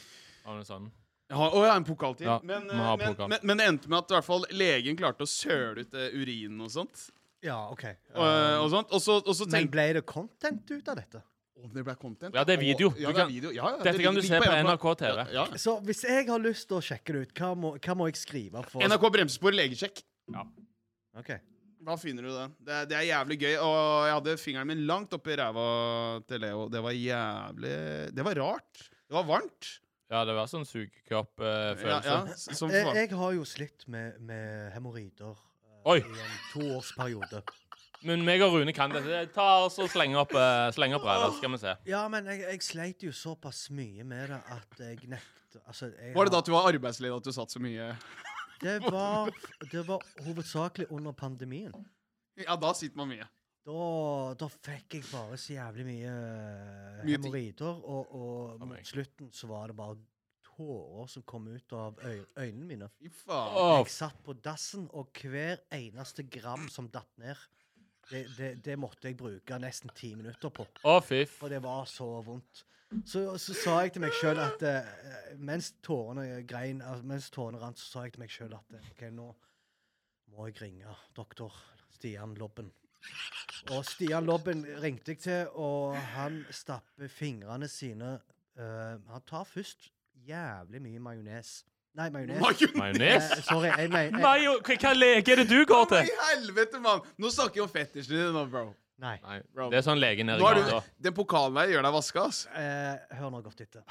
Speaker 3: Var det sånn?
Speaker 2: Jeg har, å, jeg har en pokal til.
Speaker 3: Ja,
Speaker 2: men,
Speaker 3: må
Speaker 2: eh,
Speaker 3: ha
Speaker 2: men,
Speaker 3: pokal.
Speaker 2: men, men det endte med at i hvert fall legen klarte å søle ut eh, urinen og sånt.
Speaker 4: Ja, OK. Eh,
Speaker 2: Og, og sånt. Og så, og så
Speaker 4: men
Speaker 2: tenkte
Speaker 4: ble det content ut av dette?
Speaker 2: Å, det ble content.
Speaker 3: Ja, det er
Speaker 2: Å,
Speaker 3: video.
Speaker 2: Ja,
Speaker 3: Du
Speaker 2: det er
Speaker 3: kan-
Speaker 2: video. Ja, ja,
Speaker 3: Dette
Speaker 2: det
Speaker 3: kan du
Speaker 2: ligger
Speaker 3: se på
Speaker 2: NRK.
Speaker 3: NRK TV.
Speaker 2: Ja, ja.
Speaker 4: Så hvis jeg har lyst til å sjekke det ut, hva må, hva må jeg skrive for
Speaker 2: NRK Bremsespor legesjekk.
Speaker 4: Ok.
Speaker 2: Da finner du det. det. Det er jævlig gøy. Og jeg hadde fingeren min langt oppi ræva til Leo. Det var jævlig Det var rart. Det var varmt.
Speaker 3: Ja, det var sånn
Speaker 2: Ja,
Speaker 3: sugekopp-følelse.
Speaker 2: ja, s- som
Speaker 4: Jeg,
Speaker 2: faen.
Speaker 4: jeg har jo slitt med, med hemoroider eh,
Speaker 3: Oi.
Speaker 4: i en toårsperiode.
Speaker 3: Men meg og Rune kan dette. Ta oss og slenge opp, uh, slenge opp ræva, så skal vi se.
Speaker 4: Ja, men jeg, jeg sleit jo såpass mye med det at jeg nekter altså, jeg
Speaker 2: Var det da
Speaker 4: har-
Speaker 2: at du var arbeidsledig at du satt så mye
Speaker 4: det var, det var hovedsakelig under pandemien.
Speaker 2: Ja, da sitter man mye.
Speaker 4: Da, da fikk jeg bare så jævlig mye eh,
Speaker 2: Mye ting.
Speaker 4: hemoroider, og, og
Speaker 3: meg.
Speaker 4: mot slutten så var det bare tårer som kom ut av øy øynene mine.
Speaker 2: Fy faen.
Speaker 3: Åh,
Speaker 4: Jeg satt på dassen, og hver eneste gram som datt ned, det, det, det måtte jeg bruke nesten ti minutter på.
Speaker 3: Å, fy f-
Speaker 4: For det var så vondt. Så, så sa jeg til meg sjøl at eh, mens tårene grein, altså, mens tårene rant, så sa jeg til meg sjøl at eh, OK, nå må jeg ringe doktor Stian Lobben. Og Stian Lobben ringte jeg til, og han stapper fingrene sine eh, Han tar først jævlig mye majones. Nei, majones.
Speaker 2: Markus,
Speaker 3: Majones?
Speaker 4: Eh, sorry, jeg mener jeg-
Speaker 3: Majo, hva hva lege er det du går
Speaker 2: i
Speaker 3: til?
Speaker 2: helvete, mann! Nå snakker vi om fetisjen din, nå, bro.
Speaker 4: Nei.
Speaker 3: Nei,
Speaker 2: Bro.
Speaker 3: det er sånn legen er i
Speaker 2: Nå er
Speaker 3: gata.
Speaker 2: du, den pokalen der gjør deg vaska, ass.
Speaker 4: Eh, hør nå godt etter.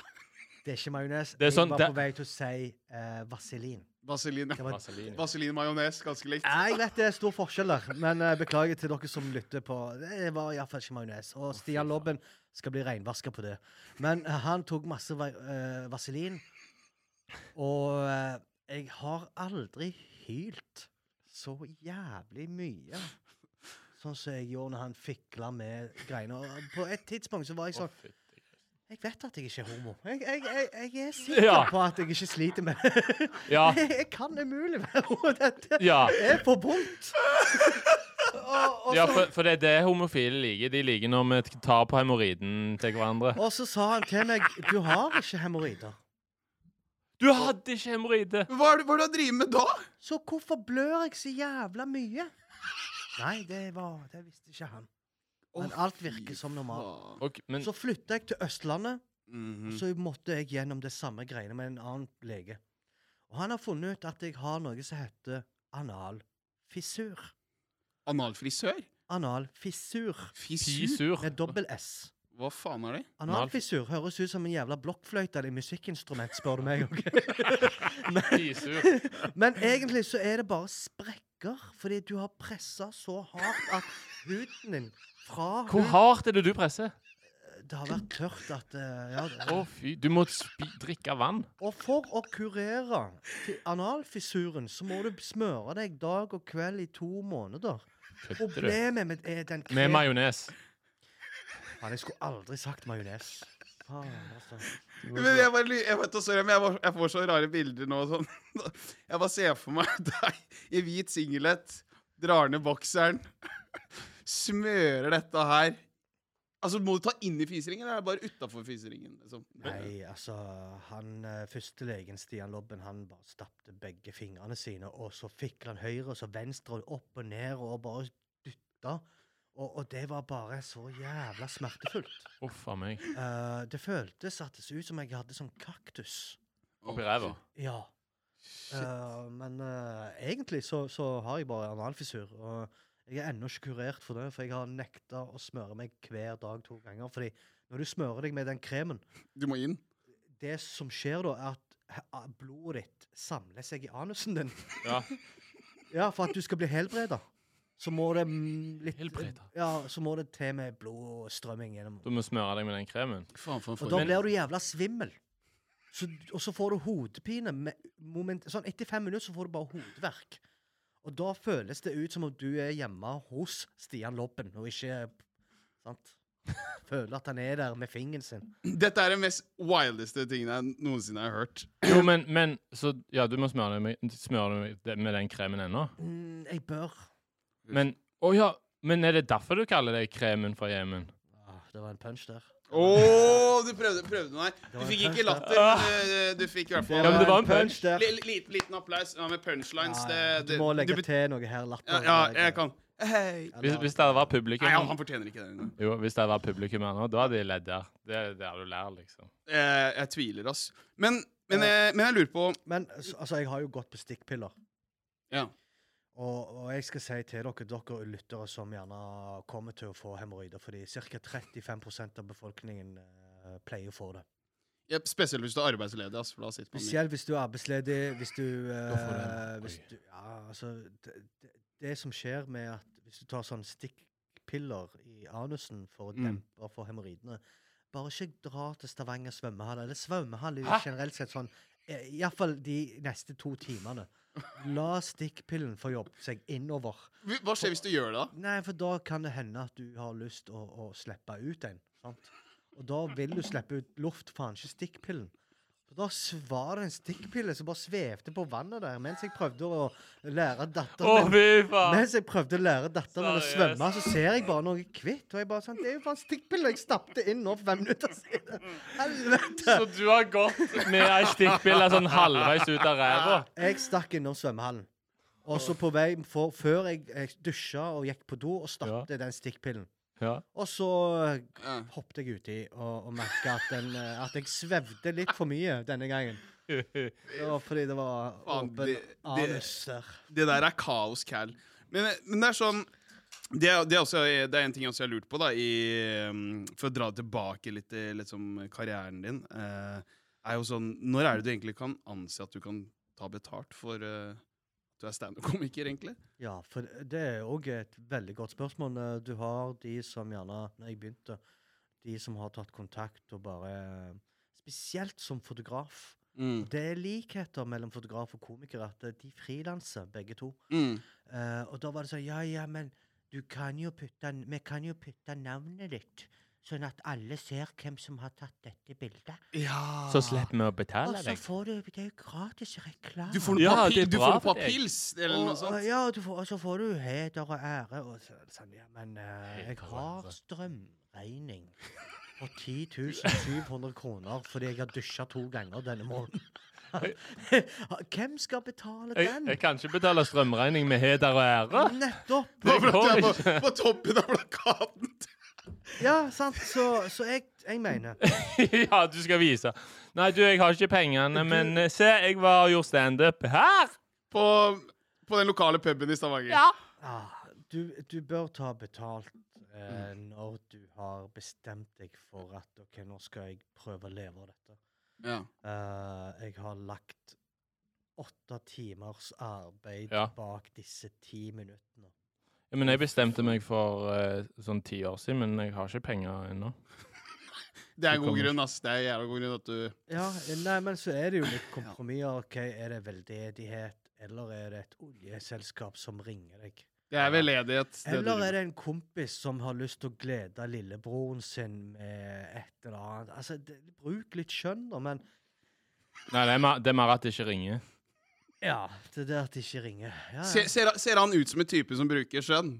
Speaker 4: Det er ikke majones.
Speaker 3: Det er sånn-
Speaker 4: jeg var
Speaker 3: det-
Speaker 4: på vei til å si eh, vaselin.
Speaker 2: Vaseline.
Speaker 4: Det var,
Speaker 3: Vaselin.
Speaker 2: Vaseline majones, ganske likt.
Speaker 4: Nei, jeg vet det er stor forskjell der, men eh, beklager til dere som lytter på. Det var iallfall ikke majones. Og Stian Lobben skal bli reinvaska på det. Men eh, han tok masse va eh, vaselin, og eh, jeg har aldri hylt så jævlig mye. Sånn som jeg gjorde når han fikla med greiene. Og på et tidspunkt så var jeg sånn Jeg vet at jeg ikke er homo. Jeg, jeg, jeg, jeg er sikker
Speaker 3: Ja.
Speaker 4: på at jeg ikke sliter med det.
Speaker 3: Ja,
Speaker 4: Jeg, jeg kan umulig være homo. Dette
Speaker 3: Ja.
Speaker 4: er for vondt. Og, og,
Speaker 3: ja
Speaker 4: så,
Speaker 3: for, for det er det homofile liker. De liker når vi t- tar på hemoroiden til hverandre.
Speaker 4: og så sa han til meg Du har ikke hemoroider.
Speaker 3: Du Du hadde ikke hemoroide!
Speaker 2: Hva er det hva er det du driver med da?
Speaker 4: Så hvorfor blør jeg så jævla mye? Nei, det, var, det visste ikke han. Men
Speaker 2: Å,
Speaker 4: alt
Speaker 2: fy
Speaker 4: virker som normalt.
Speaker 2: faen.
Speaker 3: Ok, men
Speaker 4: Så flytta jeg til Østlandet, og
Speaker 2: Mhm.
Speaker 4: så måtte jeg gjennom det samme greiene med en annen lege. Og han har funnet ut at jeg har noe som heter analfissur.
Speaker 2: Analfrisør?
Speaker 4: Analfissur
Speaker 2: Fisur?
Speaker 3: pisur
Speaker 4: med dobbel S.
Speaker 2: Hva faen er det?
Speaker 4: Analfissur høres ut som en jævla blokkfløyte eller musikkinstrument, spør du meg. ok? Men,
Speaker 3: Pisur.
Speaker 4: men egentlig så er det bare sprekker, fordi du har pressa så hardt at huden din fra
Speaker 3: Hvor hardt er det du presser?
Speaker 4: Det har vært tørt at eh, ja,
Speaker 3: Å,
Speaker 4: det-
Speaker 3: fy. Du må spi drikke vann.
Speaker 4: Og for å kurere til analfissuren, så må du smøre deg dag og kveld i to måneder.
Speaker 3: Kødder du?
Speaker 4: Problemet mitt er den
Speaker 3: Med majones.
Speaker 4: Faen, jeg skulle aldri sagt majones. Faen, altså.
Speaker 2: Men jeg bare, ly- jeg vet, sorry, men jeg, var, jeg får så rare bilder nå. og Sånn. Jeg bare ser for meg deg i hvit singlet, drar ned bokseren, smører dette her. Altså, Må du ta inn i fiseringen, eller er det bare utafor fiseringen? Liksom?
Speaker 4: Nei, altså han eh, første legen, Stian Lobben, han bare stappte begge fingrene sine, og så fikla han høyre og så venstre og opp og ned og bare dytta. Og, og det var bare så jævla smertefullt.
Speaker 3: Uff a meg.
Speaker 4: Eh, det føltes at det så ut som jeg hadde sånn kaktus.
Speaker 3: Oppi ræva.
Speaker 4: Ja. Eh, men eh, egentlig så, så har jeg bare analfissur. Og jeg er ennå ikke kurert for det, for jeg har nekta å smøre meg hver dag to ganger. Fordi når du smører deg med den kremen,
Speaker 2: Du må inn.
Speaker 4: det som skjer da, er at he- a- blodet ditt samler seg i anusen din.
Speaker 3: Ja.
Speaker 4: Ja, for at du skal bli helbreda. Så må det mm, litt
Speaker 3: Helbreda.
Speaker 4: Ja, så må det til med blodstrømming gjennom.
Speaker 3: Du må smøre deg med den kremen.
Speaker 2: Faen, faen,
Speaker 4: Og
Speaker 2: faen.
Speaker 4: da
Speaker 3: Men-
Speaker 4: blir du jævla svimmel. Så, og så får du hodepine. Med, moment, sånn, etter fem minutter så får du bare hodeverk. Og da føles det ut som om du er hjemme hos Stian Lobben, og ikke sant? Føler at han er der med fingeren sin.
Speaker 2: Dette er den mest wildeste tingen jeg noensinne har hørt.
Speaker 3: Jo, men, men Så ja, du må smøre deg med, smøre deg med- med den kremen ennå.
Speaker 4: Mm, jeg bør
Speaker 3: Men Å ja. Men er det derfor du kaller deg kremen fra Jemen?
Speaker 4: ah, Det var en punch der.
Speaker 2: Å, du prøvde, prøvde meg. Du
Speaker 4: var
Speaker 2: fikk
Speaker 4: en
Speaker 2: ikke
Speaker 4: punch,
Speaker 2: latter, men eh, du fikk i hvert fall eh,
Speaker 3: Ja, men det var en punch.
Speaker 2: Li-
Speaker 4: der.
Speaker 2: li- Liten, liten applaus. Ja, med punchlines. Det,
Speaker 4: Ja, ja,
Speaker 2: det,
Speaker 4: Du må legge
Speaker 2: du bet-
Speaker 4: til noe her.
Speaker 2: Ja,
Speaker 4: Latter.
Speaker 2: ja, jeg kan. Hei.
Speaker 3: Hvis, hvis det hadde vært publikum
Speaker 2: Nei, han, han fortjener ikke det.
Speaker 3: Jo, hvis det hadde vært publikum her nå, da hadde de ledd der. Det er der du lærer, liksom.
Speaker 2: Jeg, Eh, jeg tviler, ass. Men, men, jeg, men jeg lurer på
Speaker 4: Men s- altså, jeg har jo gått på stikkpiller.
Speaker 2: ja.
Speaker 4: Og, og jeg skal si til dere, dere lyttere som gjerne kommer til å få hemoroider, fordi ca. 35 av befolkningen eh, pleier å få det.
Speaker 2: Ja, Spesielt hvis du er arbeidsledig. Ass, for da sitter man mye.
Speaker 4: Spesielt hvis du er arbeidsledig, hvis du,
Speaker 3: Da får du en
Speaker 4: eh, hvis
Speaker 3: hemoroid.
Speaker 4: du Ja, altså det, det, det som skjer med at hvis du tar sånn stikkpiller i anusen for å
Speaker 2: Mm.
Speaker 4: dempe for hemoroidene Bare ikke dra til Stavanger svømmehall, eller svømmehall er jo
Speaker 3: Hæ?
Speaker 4: generelt sett sånn Iallfall de neste to timene. La stikkpillen få jobbe seg innover.
Speaker 2: Hva- Hva skjer hvis du gjør det, da?
Speaker 4: Nei, for da kan det hende at du har lyst å, å slippe ut en. Sant? Og da vil du slippe ut luft, faen ikke stikkpillen. Så da s- var det en stikkpille som bare svevde på vannet der mens jeg prøvde å lære
Speaker 3: Å,
Speaker 4: datteren min
Speaker 3: fy faen!
Speaker 4: mens jeg prøvde å lære datteren min å
Speaker 3: Seriøst?
Speaker 4: svømme, så ser jeg bare noe hvitt. Og jeg bare sånn Det er jo faen stikkpiller jeg stappte inn nå for fem minutter siden. Helvete!
Speaker 3: Så du har gått med ei stikkbille sånn halvveis ut av ræva?
Speaker 4: Jeg stakk innom svømmehallen. Og så på vei for, Før jeg, jeg dusja og gikk på do og stappte den stikkpillen.
Speaker 3: Ja.
Speaker 4: Og så
Speaker 2: Ja.
Speaker 4: hoppet jeg uti og, og merka at, den, eh, at jeg svevde litt for mye denne gangen. Det var fordi det var
Speaker 2: Faen,
Speaker 4: åpen
Speaker 2: det- det-
Speaker 4: anus der.
Speaker 2: Det der er kaos, Cal. Men, men det er sånn det er, det, er også, det er en ting jeg også har lurt på, da, i, um, for å dra tilbake litt til liksom, karrieren din. eh, er jo sånn, Når er det du egentlig kan anse at du kan ta betalt for eh, at du er standup-komiker, egentlig?
Speaker 4: Ja, for det er òg et veldig godt spørsmål. Eh, Du har de som gjerne Når jeg begynte, de som har tatt kontakt og bare Spesielt som fotograf.
Speaker 2: Mm.
Speaker 4: Det er likheter mellom fotograf og komiker at eh, de frilanser begge to.
Speaker 2: Mm.
Speaker 4: Eh, og da var det sånn Ja, ja, men du kan jo putte, n- vi kan jo putte navnet ditt, sånn at alle ser hvem som har tatt dette bildet.
Speaker 2: Ja.
Speaker 3: Så slipper vi å
Speaker 4: Og
Speaker 3: betale
Speaker 4: så
Speaker 3: deg.
Speaker 4: får du Det er jo gratis reklame.
Speaker 2: Du får noe
Speaker 3: Ja,
Speaker 2: papir,
Speaker 3: det er
Speaker 2: du
Speaker 3: bra
Speaker 2: får noe
Speaker 3: for deg.
Speaker 2: papils, eller
Speaker 4: og,
Speaker 2: noe sånt.
Speaker 4: og- Ja, du får, og så får du heder og ære. Og så, er det sånn, ja, men eh, jeg
Speaker 3: Heder og
Speaker 4: har
Speaker 3: ære.
Speaker 2: altså.
Speaker 4: strømregning på 10 700 kroner fordi jeg har dusja to ganger denne måneden. Hvem skal betale
Speaker 3: Jeg,
Speaker 4: den?
Speaker 3: jeg kan ikke betale strømregning med heder og ære.
Speaker 4: Nettopp!
Speaker 2: Bare for at
Speaker 3: går
Speaker 2: du er på, på toppen av plakaten!
Speaker 4: Ja, sant? Så, så jeg, jeg mener
Speaker 3: ja, du skal vise. Nei, du, jeg har ikke pengene, men eh, se, jeg var og gjorde standup her.
Speaker 2: På, på den lokale puben i Stavanger.
Speaker 3: Ja.
Speaker 4: ah, du, du bør ta betalt eh,
Speaker 2: Mm.
Speaker 4: når du har bestemt deg for at OK, nå skal jeg prøve å leve av dette.
Speaker 2: Ja.
Speaker 4: Eh, jeg har lagt åtte timers arbeid
Speaker 3: Ja.
Speaker 4: bak disse ti minuttene.
Speaker 3: Ja, Men jeg bestemte meg for eh, sånn ti år siden, men jeg har ikke penger ennå.
Speaker 2: Det er en
Speaker 3: Du
Speaker 2: god
Speaker 3: kommer-
Speaker 2: grunn, ass. Det er en jævla god grunn at du
Speaker 4: Ja, nei, men så er det jo litt kompromisser. OK, er det veldedighet, eller er det et oljeselskap som ringer deg?
Speaker 2: Det er veldedighet. det du
Speaker 4: Eller
Speaker 2: driver
Speaker 4: er
Speaker 2: med.
Speaker 4: det en kompis som har lyst til å glede lillebroren sin med et eller annet? Altså, det, bruk litt skjønn, da, men
Speaker 3: Nei, det er, mer, det er mer at det ikke ringer.
Speaker 4: Ja, det der at de ikke ringer. Ja,
Speaker 2: Se- ser, ser han ut som en type som bruker skjønn?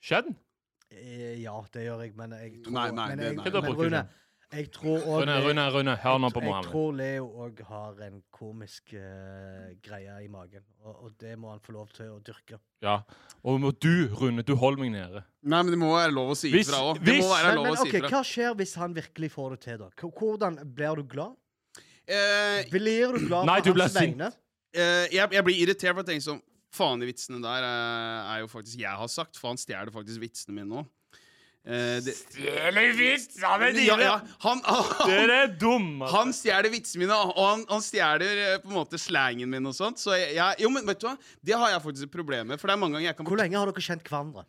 Speaker 3: Skjønn?
Speaker 4: ja. Eh, ja det gjør jeg, men jeg tror
Speaker 2: Nei, nei,
Speaker 4: men
Speaker 2: det-
Speaker 4: jeg,
Speaker 2: nei.
Speaker 3: Da bruker
Speaker 4: Men
Speaker 3: du
Speaker 4: Rune,
Speaker 3: skjønn.
Speaker 4: jeg tror også
Speaker 3: Rune,
Speaker 4: det-
Speaker 3: Rune, Rune, hør nå på
Speaker 4: jeg
Speaker 3: Mohammed.
Speaker 4: tror Leo òg har en komisk eh, greie i magen, og, og det må han få lov til å dyrke.
Speaker 3: Ja. Og må du, Rune, du holder meg nede.
Speaker 2: Nei, men det må være lov å si
Speaker 3: Hvis-
Speaker 2: ifra òg. Det må
Speaker 3: hvis-
Speaker 2: være
Speaker 4: Men,
Speaker 2: lov
Speaker 4: men
Speaker 2: å si
Speaker 4: ok,
Speaker 2: ifra.
Speaker 4: hva skjer hvis han virkelig får det til, da? K- Hvordan blir du glad?
Speaker 2: Eh,
Speaker 4: Blir du glad
Speaker 3: Nei,
Speaker 4: på
Speaker 3: du blir
Speaker 4: hans
Speaker 3: sint.
Speaker 4: vegne?
Speaker 2: eh, jeg, jeg blir irritert, for jeg tenker sånn Faen, de vitsene der eh, er jo faktisk jeg har sagt. Faen, stjeler faktisk vitsene mine nå. Eh, det,
Speaker 3: Stjeler vitsene
Speaker 2: ja, ja, han,
Speaker 3: Det
Speaker 2: han,
Speaker 3: er det dumme.
Speaker 2: han stjeler vitsene mine, og han, han stjeler eh, på en måte slangen min og sånt. Så jeg, jeg Jo, men vet du hva? Det har jeg faktisk et problem med, for det er mange ganger jeg kan
Speaker 4: Hvor lenge har dere kjent hverandre?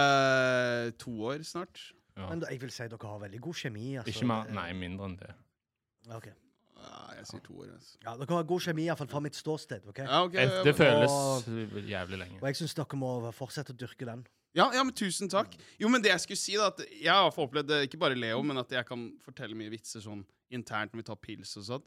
Speaker 2: Eh, To år snart.
Speaker 3: Ja.
Speaker 4: Men da- jeg vil si dere har veldig god kjemi. Altså. Eh,
Speaker 3: Ikke mer, nei, mindre enn det.
Speaker 4: Ok.
Speaker 2: Ja, jeg sier to år, altså.
Speaker 4: Ja, dere har god kjemi, iallfall fra mitt ståsted. ok?
Speaker 2: Ja, ok,
Speaker 3: Jeg, det
Speaker 2: ja,
Speaker 3: føles jævlig lenge.
Speaker 4: Og jeg syns dere må fortsette å dyrke den.
Speaker 2: ja, ja, men tusen takk. Jo, men det jeg skulle si, da, at jeg har i hvert fall opplevd det, ikke bare Leo, men at jeg kan fortelle mye vitser sånn internt når vi tar pils og sånt.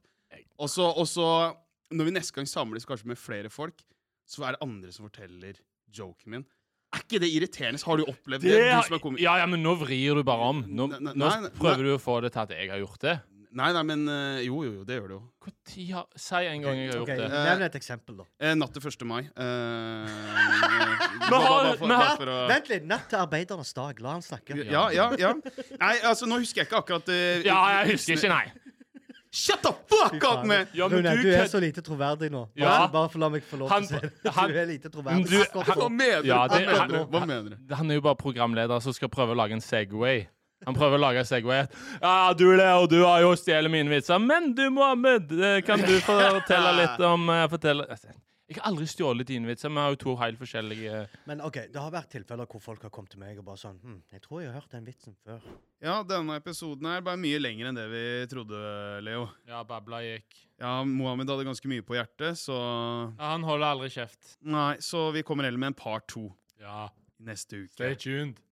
Speaker 2: Og så, og så, når vi neste gang samles kanskje med flere folk, så er det andre som forteller joken min. Er ikke det irriterende? Har du opplevd det, du som er komiker?
Speaker 3: ja, ja, men nå vrir du bare om. Nå,
Speaker 2: Nei, nei,
Speaker 3: nå
Speaker 2: nei,
Speaker 3: prøver du å få det til at jeg har gjort det.
Speaker 2: Nei, nei, men eh, jo, jo, jo, det gjør det jo.
Speaker 3: Hvor tid har, Si en gang jeg har
Speaker 4: Ok,
Speaker 3: gjort det.
Speaker 4: Nevn et eksempel, da.
Speaker 2: Eh, natt til 1. mai. Eh,
Speaker 3: Vi
Speaker 2: bare-
Speaker 3: har-
Speaker 2: bare for-
Speaker 3: vi
Speaker 2: bare
Speaker 3: har-
Speaker 2: for å-
Speaker 4: Vent litt. Natt til arbeidernes dag. La han snakke.
Speaker 2: Ja, ja, ja. Nei, altså, nå husker jeg ikke akkurat eh,
Speaker 3: Ja, jeg husker ikke, nei.
Speaker 2: Shut the fuck up, man!
Speaker 3: Ja, men
Speaker 4: Rune, du,
Speaker 3: du
Speaker 4: er
Speaker 3: kødd-
Speaker 4: så lite troverdig nå. Bare,
Speaker 3: Ja.
Speaker 4: bare for la meg få lov
Speaker 3: Han-
Speaker 4: til å si det.
Speaker 3: han-
Speaker 4: Du er lite
Speaker 3: Men
Speaker 4: troverdig.
Speaker 3: du-
Speaker 4: Akkurat
Speaker 3: han-
Speaker 4: nå.
Speaker 2: Hva mener du?
Speaker 3: Ja,
Speaker 2: Hva
Speaker 3: det-
Speaker 2: mener
Speaker 3: han-
Speaker 2: du? Hva mener du?
Speaker 3: Han er jo bare programleder som skal prøve å lage en Segway. Han prøver å lage en Segway. Ja, du Leo, du har jo stjålet mine vitser, men du Mohammed, eh, kan du fortelle litt om eh, fortelle... Altså, Jeg har aldri stjålet dine vitser. Vi har jo to helt forskjellige eh,
Speaker 4: Men ok, det har vært tilfeller hvor folk har kommet til meg og bare sånn hm, 'Jeg tror jeg har hørt den vitsen før.'
Speaker 2: Ja, denne episoden er bare mye lengre enn det vi trodde, Leo.
Speaker 3: Ja, babla gikk.
Speaker 2: Ja, Mohammed hadde ganske mye på hjertet, så
Speaker 3: Ja, han holder aldri kjeft.
Speaker 2: Nei, så vi kommer heller med en par to
Speaker 3: Ja,
Speaker 2: neste uke.
Speaker 3: stay tuned.